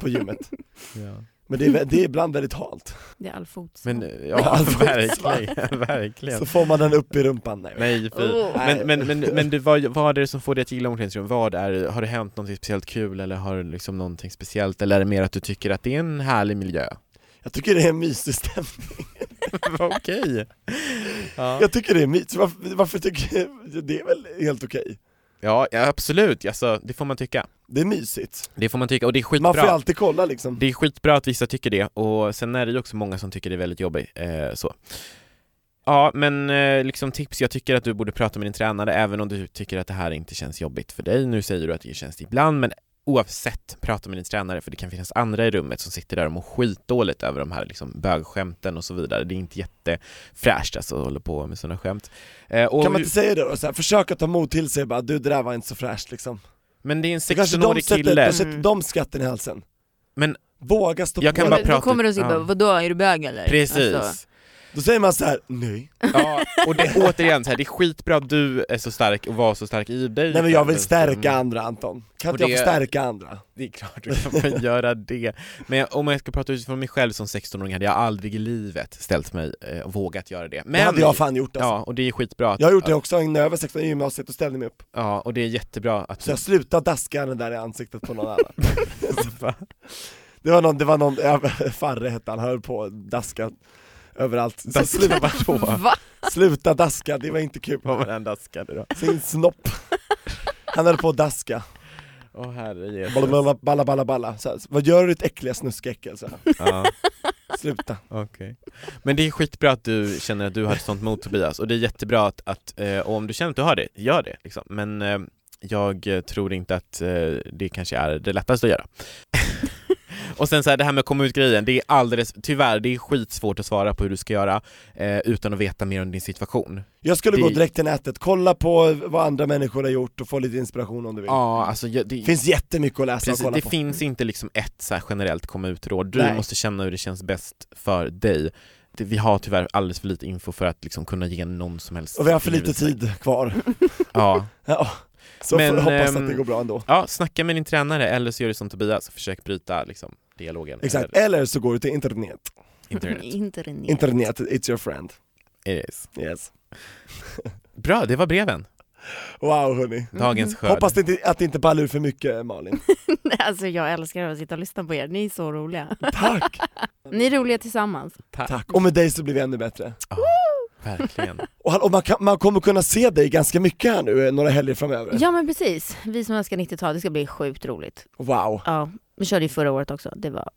Speaker 3: på gymmet.
Speaker 2: ja.
Speaker 3: Men det är, vä- det är ibland väldigt halt.
Speaker 4: Det är all fotsvamp.
Speaker 2: Men ja,
Speaker 3: Alltså,
Speaker 2: verkligen, verkligen.
Speaker 3: Så får man den upp i rumpan. Nej,
Speaker 2: Nej, fy.
Speaker 4: Oh.
Speaker 2: Men, men, men, men du, vad, vad är det som får dig att gilla omklädningsrum? Vad är, det- har det hänt någonting speciellt kul eller har du liksom någonting speciellt eller är det mer att du tycker att det är en härlig miljö?
Speaker 3: Jag tycker det är en mysig stämning.
Speaker 2: Vad okej! Ja.
Speaker 3: Jag tycker det är mysigt. Varför, varför tycker jag, det är väl helt okej?
Speaker 2: ja, ja, absolut, alltså, det får man tycka.
Speaker 3: Det är mysigt.
Speaker 2: Det får man tycka och det är skitbra.
Speaker 3: Man får ju alltid kolla liksom.
Speaker 2: Det är skitbra att vissa tycker det och sen är det ju också många som tycker det är väldigt jobbigt eh, så. Ja, men eh, liksom tips, jag tycker att du borde prata med din tränare även om du tycker att det här inte känns jobbigt för dig. Nu säger du att det känns det ibland, men oavsett, prata med din tränare för det kan finnas andra i rummet som sitter där och mår skitdåligt över de här liksom bögskämten och så vidare. Det är inte jättefräscht alltså att hålla på med sådana skämt. Eh, och,
Speaker 3: Kan man inte säga det då? Så här, försök att ta mod till sig bara, du det där var inte så fräscht liksom.
Speaker 2: Men det är en
Speaker 3: Så kanske de
Speaker 2: 16-årig
Speaker 3: sätter, då
Speaker 2: kille.
Speaker 3: sätter de skatten i halsen.
Speaker 2: Men-
Speaker 3: Våga stå
Speaker 2: Jag
Speaker 3: på
Speaker 2: kan
Speaker 3: det.
Speaker 2: bara prata-
Speaker 4: Då kommer de och säger
Speaker 2: Ja.
Speaker 4: bara, vadå är du bög eller?
Speaker 2: Precis.
Speaker 4: Alltså,
Speaker 3: Då säger man så här: nej.
Speaker 2: Ja, och det, återigen så här, det är skitbra att du är så stark och var så stark i dig
Speaker 3: Nej men jag vill stärka
Speaker 2: Mm,
Speaker 3: andra Anton. Kan
Speaker 2: Och
Speaker 3: inte jag
Speaker 2: det-
Speaker 3: få stärka andra?
Speaker 2: Det är klart du kan få göra det Men jag, om jag ska prata utifrån mig själv som 16-åring hade jag aldrig i livet ställt mig eh, och vågat göra det Men,
Speaker 3: Det hade jag fan gjort alltså.
Speaker 2: Ja, och det är skitbra att,
Speaker 3: Jag har gjort det också när jag var 16 i gymnasiet och ställde mig upp.
Speaker 2: Ja, och det är jättebra att
Speaker 3: Så jag slutade daska den där i ansiktet på någon annan.
Speaker 2: Va?
Speaker 3: Det var någon, det var någon, ja, Farre hette han, höll på att daska överallt. Så
Speaker 2: Daska
Speaker 3: sluta,
Speaker 2: vadå?
Speaker 4: Va?
Speaker 3: sluta daska, det var inte kul.
Speaker 2: Vad var den daskade då?
Speaker 3: Sin snopp. Han höll på att daska,
Speaker 2: Åh herre Jesus.
Speaker 3: balla balla balla balla, balla. Så här, Vad gör du ditt äckliga snuskäckel? Så här,
Speaker 2: Ja,
Speaker 3: Sluta.
Speaker 2: okej. Men det är skitbra att du känner att du har ett sånt mot Tobias och det är jättebra att, att eh, och om du känner att du har det, gör det liksom. Men eh, jag eh, tror inte att eh, det kanske är det lättaste att göra. Och sen så här, det här med att komma ut-grejen, det är alldeles, tyvärr, det är skitsvårt att svara på hur du ska göra eh, utan att veta mer om din situation.
Speaker 3: Jag skulle
Speaker 2: Det-
Speaker 3: gå direkt till nätet, kolla på vad andra människor har gjort och få lite inspiration om du vill.
Speaker 2: Ja, alltså jag- det,
Speaker 3: Det finns jättemycket att läsa och
Speaker 2: precis,
Speaker 3: kolla
Speaker 2: det
Speaker 3: på.
Speaker 2: finns inte liksom ett så här generellt komma ut-råd. Du
Speaker 3: Nej.
Speaker 2: måste känna hur det känns bäst för dig. Det, vi har tyvärr alldeles för lite info för att liksom kunna ge någon som helst
Speaker 3: Och vi har för lite
Speaker 2: insikt.
Speaker 3: tid kvar.
Speaker 2: Ja,
Speaker 3: Ja. Så
Speaker 2: Men,
Speaker 3: får jag hoppas
Speaker 2: ehm,
Speaker 3: att det går bra ändå.
Speaker 2: Ja, snacka med din tränare eller så gör du som Tobias, försök bryta liksom, dialogen.
Speaker 3: Exakt,
Speaker 2: Eller
Speaker 3: eller så går du till internet.
Speaker 2: internet.
Speaker 4: Internet.
Speaker 3: Internet, it's your friend.
Speaker 2: It is.
Speaker 3: Yes.
Speaker 2: Bra, det var breven.
Speaker 3: Wow hörni.
Speaker 2: Dagens skörd.
Speaker 3: Mm-hmm. Hoppas det inte, att det inte ballar ur för mycket Malin.
Speaker 4: Alltså jag älskar att sitta och lyssna på er, ni är så roliga.
Speaker 3: Tack!
Speaker 4: Ni är roliga tillsammans.
Speaker 3: Tack. Och med dig så blir vi ännu bättre.
Speaker 2: Ja, verkligen.
Speaker 3: Och, han- och man, kan, man kommer kunna se dig ganska mycket här nu, eh, några helger framöver.
Speaker 4: Ja men precis, vi som älskar 90-tal, det ska bli sjukt roligt.
Speaker 3: Wow.
Speaker 4: Ja, vi körde ju förra året också, det var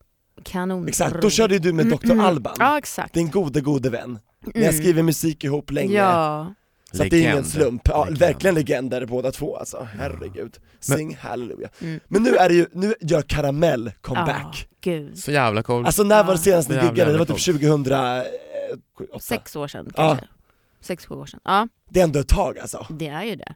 Speaker 4: kanon.
Speaker 3: Exakt, då körde ju du med Dr. Alban.
Speaker 4: Mm, Ja exakt. Mm.
Speaker 3: Din gode, gode vän. Ni har skrivit musik ihop länge.
Speaker 4: Ja.
Speaker 3: Så att det är ingen
Speaker 2: Legend.
Speaker 3: slump. Ja,
Speaker 2: Legend.
Speaker 3: Verkligen legender båda två alltså, herregud.
Speaker 2: Men-
Speaker 3: Sing hallelujah.
Speaker 4: Mm.
Speaker 3: Men nu är det ju, nu gör Karamell comeback.
Speaker 4: Ja, gud.
Speaker 2: Så jävla cool.
Speaker 3: Alltså när var det
Speaker 4: Ja.
Speaker 3: senast ni
Speaker 2: Jävlar,
Speaker 3: giggade? Det var
Speaker 2: jävlar,
Speaker 3: typ eh, 2008?
Speaker 4: Sex år sedan
Speaker 3: Ja.
Speaker 4: kanske. Sex, sju år sedan. Ja,
Speaker 3: Det är ändå ett tag alltså.
Speaker 4: det är ju det.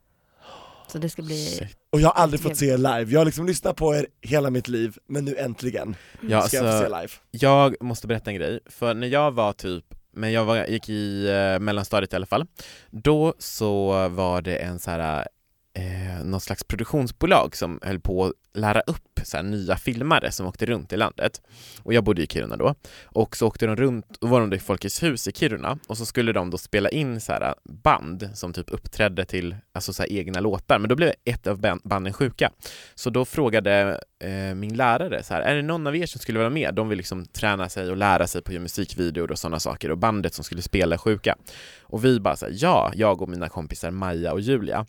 Speaker 4: Så det ska bli...
Speaker 2: Shit.
Speaker 3: Och jag har aldrig fått se er live, jag har liksom lyssnat på er hela mitt liv, men nu äntligen
Speaker 2: Ja,
Speaker 3: ska jag få se
Speaker 2: alltså,
Speaker 3: live.
Speaker 2: jag måste berätta en grej, för när jag var typ men jag var, gick i eh, mellanstadiet i alla fall. Då så var det en så här, eh, någon slags produktionsbolag som höll på att lära upp så här, nya filmare som åkte runt i landet. Och jag bodde i Kiruna då. Och så åkte de runt, då var de i Folkets hus i Kiruna och så skulle de då spela in så här, eh, band som typ uppträdde till alltså, så här, egna låtar. Men då blev ett av ban- banden sjuka. Så då frågade eh, min lärare så här, är det någon av er som skulle vara med? De vill liksom träna sig och lära sig på att göra musikvideor och sådana saker och bandet som skulle spela är sjuka. Och vi bara så här, ja, jag och mina kompisar Maja och Julia.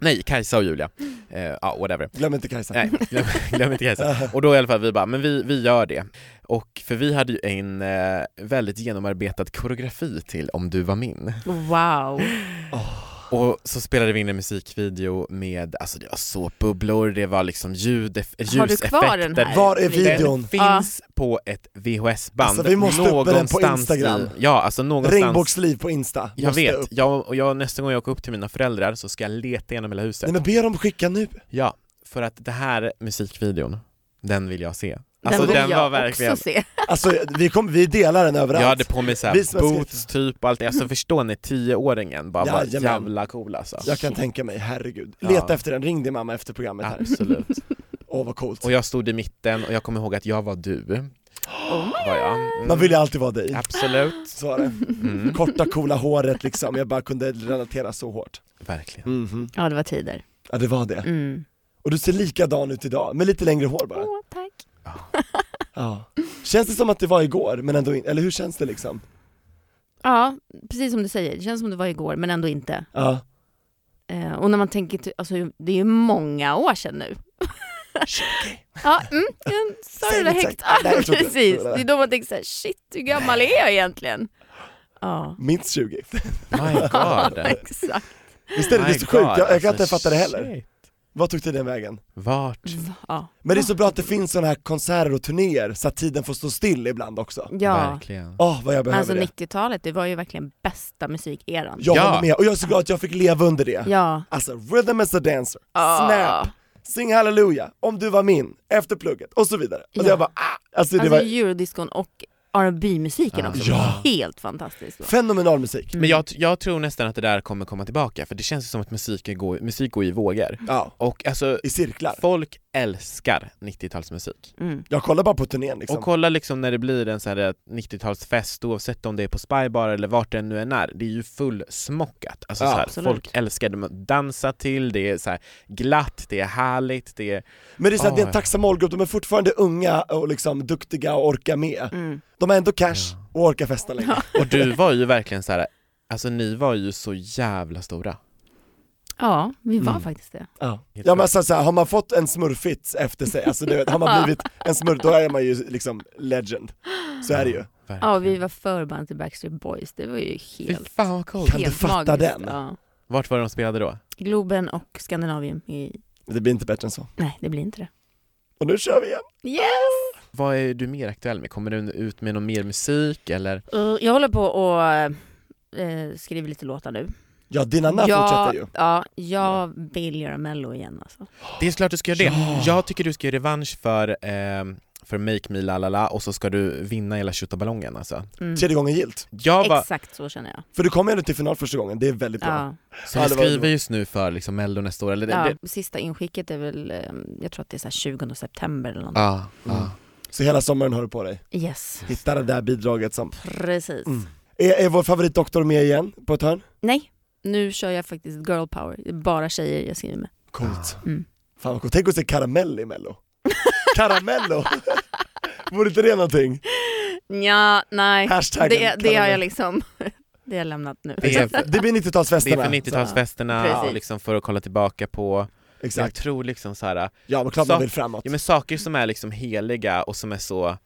Speaker 2: Nej, Kajsa och Julia. Eh, ja, whatever.
Speaker 3: Glöm inte Kajsa.
Speaker 2: Nej, glöm, glöm inte Kajsa. Och då i alla fall vi bara, men vi, vi gör det. Och för vi hade ju en eh, väldigt genomarbetad koreografi till Om du var min.
Speaker 4: Wow.
Speaker 2: Och så spelade vi in en musikvideo med, alltså det var såpbubblor, det var liksom ljud, ljuseffekter.
Speaker 4: Har du kvar den här?
Speaker 3: Var är videon?
Speaker 2: Den finns på ett VHS-band
Speaker 3: Alltså, vi måste upp den på Instagram.
Speaker 2: I, ja, alltså någonstans
Speaker 3: Regnbågsliv på Insta,
Speaker 2: Jag
Speaker 3: Måste
Speaker 2: vet,
Speaker 3: upp.
Speaker 2: jag, och jag, nästa gång jag åker upp till mina föräldrar så ska jag leta igenom hela huset
Speaker 3: Nej men be dem skicka nu.
Speaker 2: Ja, för att det här musikvideon, den vill jag se
Speaker 4: Den
Speaker 2: Alltså
Speaker 4: vill
Speaker 2: den, var
Speaker 4: jag
Speaker 2: verkligen
Speaker 4: också se.
Speaker 3: Alltså vi, kom, vi delar den överallt.
Speaker 2: Jag hade på mig
Speaker 3: Vi som
Speaker 2: såhär
Speaker 3: har
Speaker 2: boots typ och allt det, alltså förstår ni tioåringen bara var
Speaker 3: Jajamän.
Speaker 2: jävla cool alltså
Speaker 3: Jag kan tänka mig, herregud.
Speaker 2: Ja.
Speaker 3: Leta efter den, ring din mamma efter programmet här.
Speaker 2: Absolut
Speaker 3: Åh vad coolt.
Speaker 2: Och jag stod i mitten och jag kommer ihåg att jag var du. Var jag. Mm.
Speaker 3: Man vill ju alltid vara dig.
Speaker 2: Absolut.
Speaker 3: Så var det. Korta coola håret liksom, jag bara kunde relatera så hårt.
Speaker 2: Verkligen.
Speaker 3: Mhm.
Speaker 4: Ja det var tider.
Speaker 3: Ja det var det.
Speaker 4: Mm.
Speaker 3: Och du ser likadan ut idag, med lite längre hår bara.
Speaker 4: Åh tack.
Speaker 3: Ja. Känns det som att det var igår, men ändå inte, eller hur känns det liksom?
Speaker 4: Ja, precis som du säger, det känns som det var igår men ändå inte.
Speaker 3: Ja.
Speaker 4: Eh, och när man tänker, till- alltså det är ju många år sedan nu. ja, mm, jag sa
Speaker 3: Säg
Speaker 4: det där
Speaker 3: inte
Speaker 4: högt.
Speaker 3: exakt. Nej, jag tror inte.
Speaker 4: precis, det är då man tänker såhär, shit hur gammal är jag egentligen? Ja,
Speaker 3: Minst 20.
Speaker 2: My god.
Speaker 4: exakt.
Speaker 3: Visst är det, det är
Speaker 2: My
Speaker 3: så sjukt, jag, jag kan
Speaker 2: alltså,
Speaker 3: inte fatta det heller.
Speaker 2: shit.
Speaker 3: Vad tog tiden vägen?
Speaker 2: Vart?
Speaker 4: Ja,
Speaker 3: Men det är så bra att det finns sådana här konserter och turnéer så att tiden får stå still ibland också.
Speaker 4: ja.
Speaker 2: Verkligen.
Speaker 3: Åh vad jag behöver
Speaker 4: Men alltså
Speaker 3: det.
Speaker 4: 90-talet, det var ju verkligen bästa musikeran.
Speaker 3: Jag
Speaker 2: Ja.
Speaker 3: håller med, och jag är så glad att jag fick leva under det.
Speaker 4: Ja.
Speaker 3: Alltså, rhythm is a dancer,
Speaker 4: Ah.
Speaker 3: snap, sing hallelujah, om du var min, efter plugget och så vidare. Och
Speaker 4: Ja.
Speaker 3: jag bara ah! Alltså det
Speaker 4: Alltså
Speaker 3: var
Speaker 4: eurodiscon och rb musiken också, det var helt fantastiskt.
Speaker 3: fenomenal musik.
Speaker 4: Mm.
Speaker 2: Men jag, jag tror nästan att det där kommer komma tillbaka för det känns ju som att musik går, musik går i vågor.
Speaker 3: Ja,
Speaker 2: Och alltså,
Speaker 3: i cirklar.
Speaker 2: folk älskar 90-talsmusik.
Speaker 4: Mm.
Speaker 3: Jag kollar bara på turnén liksom.
Speaker 2: Och kolla liksom när det blir en sån här 90-talsfest, oavsett om det är på Spybar eller vart det nu än är, det är ju fullsmockat. Alltså
Speaker 3: Ja,
Speaker 2: så här,
Speaker 4: absolut.
Speaker 2: folk älskar det, man dansar till, det är så här glatt, det är härligt, det är...
Speaker 3: Men det är, så här, det är en
Speaker 2: Ah.
Speaker 3: tacksam målgrupp, de är fortfarande unga och liksom duktiga och orkar med.
Speaker 4: Mm.
Speaker 3: De har ändå cash och orkar festa länge.
Speaker 2: Och du var ju verkligen så här. alltså ni var ju så jävla stora.
Speaker 4: Ja, vi
Speaker 3: Mm.
Speaker 4: var faktiskt det.
Speaker 3: Ja, ja men alltså, så här, har man fått en smurfits efter sig, alltså du vet, har man blivit en smurf, då är man ju liksom legend. Så är det ju.
Speaker 2: Verkligen.
Speaker 4: Ja, vi var förband till Backstreet Boys, det var ju
Speaker 2: Fy
Speaker 4: helt,
Speaker 2: fan vad coolt.
Speaker 3: Kan du
Speaker 4: helt
Speaker 3: fatta
Speaker 4: magiskt.
Speaker 3: den?
Speaker 4: Ja.
Speaker 2: Vart var de spelade då?
Speaker 4: Globen och Skandinavien. I...
Speaker 3: Det blir inte bättre än så.
Speaker 4: Nej, det blir inte det.
Speaker 3: Och nu kör vi igen.
Speaker 4: Yes!
Speaker 2: Vad är du mer aktuell med? Kommer du ut med någon mer musik eller?
Speaker 4: jag håller på och eh, skriver lite låtar nu.
Speaker 3: Ja, dina namn
Speaker 4: jag,
Speaker 3: fortsätter ju.
Speaker 4: ja, Mm. jag vill göra mello igen alltså.
Speaker 2: Det är klart du ska göra det. Jag tycker du ska göra revansch för, ehm, för Make Me La La La och så ska du vinna hela tjottaballongen alltså.
Speaker 4: Mm.
Speaker 3: Tredje gången gilt.
Speaker 2: Jag var,
Speaker 4: Exakt så känner jag.
Speaker 3: För du kom ju ändå till final första gången, det är väldigt bra.
Speaker 4: Ja.
Speaker 2: så
Speaker 3: Ja,
Speaker 2: vi
Speaker 3: det var-
Speaker 2: skriver just nu för liksom Mello nästa år, eller det,
Speaker 4: Ja.
Speaker 2: det,
Speaker 4: Sista inskicket är väl, eh, jag tror att det är så här 20 september eller något.
Speaker 2: ja, ja.
Speaker 3: Så hela sommaren har du på dig.
Speaker 4: Yes,
Speaker 3: Hitta det där bidraget som...
Speaker 4: precis.
Speaker 3: Mm. Är, är vår favoritdoktor med igen på ett hörn?
Speaker 4: Nej, nu kör jag faktiskt girl power. Det är bara tjejer jag skriver med.
Speaker 3: Coolt.
Speaker 4: Mm.
Speaker 3: Fan vad coolt, tänk att se karamell i mello. Karamello! Vore inte det någonting?
Speaker 4: Ja, nej.
Speaker 3: Hashtaggen
Speaker 4: Det, det har jag
Speaker 3: karamell.
Speaker 4: liksom, det har jag lämnat nu.
Speaker 2: Det, är,
Speaker 3: Det blir 90-talsfesterna.
Speaker 2: det är för
Speaker 3: Så-
Speaker 2: 90-talsfesterna
Speaker 4: Precis.
Speaker 2: och liksom för att kolla tillbaka på, jag
Speaker 3: Exakt.
Speaker 2: tror liksom så här,
Speaker 3: Ja men klart man
Speaker 2: Så-
Speaker 3: vill framåt.
Speaker 2: ja, men saker som är liksom heliga och som är så,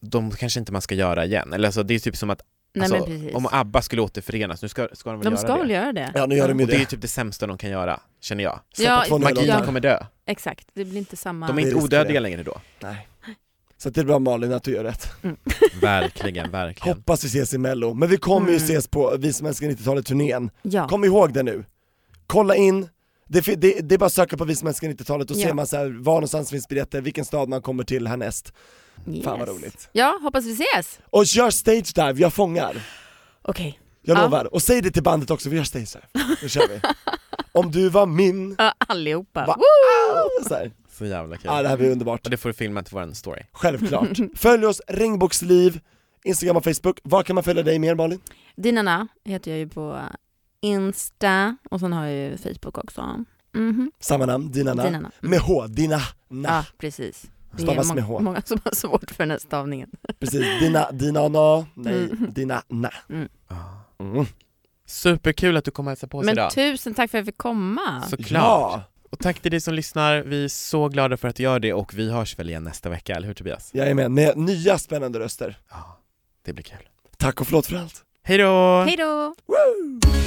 Speaker 2: de kanske inte man ska göra igen, eller alltså, det är typ som att
Speaker 4: Nej men
Speaker 2: alltså,
Speaker 4: precis.
Speaker 2: om ABBA skulle återförenas, nu ska, ska de väl
Speaker 4: De
Speaker 2: göra
Speaker 4: ska
Speaker 2: det?
Speaker 4: väl göra det?
Speaker 3: Ja nu gör de ju
Speaker 2: Och det är ju
Speaker 3: det.
Speaker 2: typ det sämsta de kan göra, känner jag.
Speaker 3: Släppa
Speaker 4: Ja,
Speaker 3: två nya
Speaker 2: Magin
Speaker 4: Ja.
Speaker 3: låtar.
Speaker 2: kommer dö.
Speaker 4: Exakt, det blir inte samma.
Speaker 2: De är
Speaker 3: Det är
Speaker 2: inte
Speaker 3: risk för det.
Speaker 2: odödliga längre då.
Speaker 3: Nej. Så att det är bra Malin att du gör rätt.
Speaker 2: Verkligen, verkligen.
Speaker 3: Hoppas vi ses i mello, men vi kommer ju
Speaker 4: Mm.
Speaker 3: ses på Vi som älskar 90-talet-turnén.
Speaker 4: Ja.
Speaker 3: Kom ihåg det nu. Kolla in, det, fi- det, det är bara att söka på Vi som älskar 90-talet och
Speaker 4: Ja.
Speaker 3: ser man så här, var någonstans finns biljetter, vilken stad man kommer till härnäst.
Speaker 4: yes.
Speaker 3: Fan vad roligt.
Speaker 4: Ja, hoppas vi ses.
Speaker 3: Och gör stage dive, jag fångar.
Speaker 4: Okej.
Speaker 3: Jag
Speaker 4: Ja.
Speaker 3: lovar. Och säg det till bandet också, vi gör stage dive. Nu kör vi. Om du var min,
Speaker 4: Ja, allihopa.
Speaker 3: Va?
Speaker 4: Woo!
Speaker 3: så här.
Speaker 2: Så jävla kul.
Speaker 3: Ja, det här blir underbart.
Speaker 2: Och det får du filma till våran story.
Speaker 3: Självklart. Följ oss, Regnbågsliv, Instagram och Facebook. Var kan man följa dig mer Malin?
Speaker 4: Dinana heter jag ju på Insta och sen har jag ju Facebook också. Mhm.
Speaker 3: Samma namn, Dinana.
Speaker 4: Dinana. Mm.
Speaker 3: Med H, Dinana.
Speaker 4: Ja, precis. Det är
Speaker 3: Stavas
Speaker 4: må-
Speaker 3: med H.
Speaker 4: många som har svårt för den här stavningen.
Speaker 3: Precis, dina, dina, na, nej,
Speaker 4: Mm.
Speaker 3: dina, na. Mm.
Speaker 2: Superkul att du kom och hälsade på oss
Speaker 4: Men
Speaker 2: idag.
Speaker 4: tusen tack för att jag fick komma.
Speaker 2: Såklart.
Speaker 3: Ja,
Speaker 2: Och tack till dig som lyssnar, vi är så glada för att du gör det och vi hörs väl igen nästa vecka, eller hur Tobias?
Speaker 3: jag är med. Med nya spännande röster.
Speaker 2: Ja, det blir kul.
Speaker 3: Tack och förlåt för allt.
Speaker 2: Hej då!
Speaker 4: Hej då!
Speaker 3: Woo!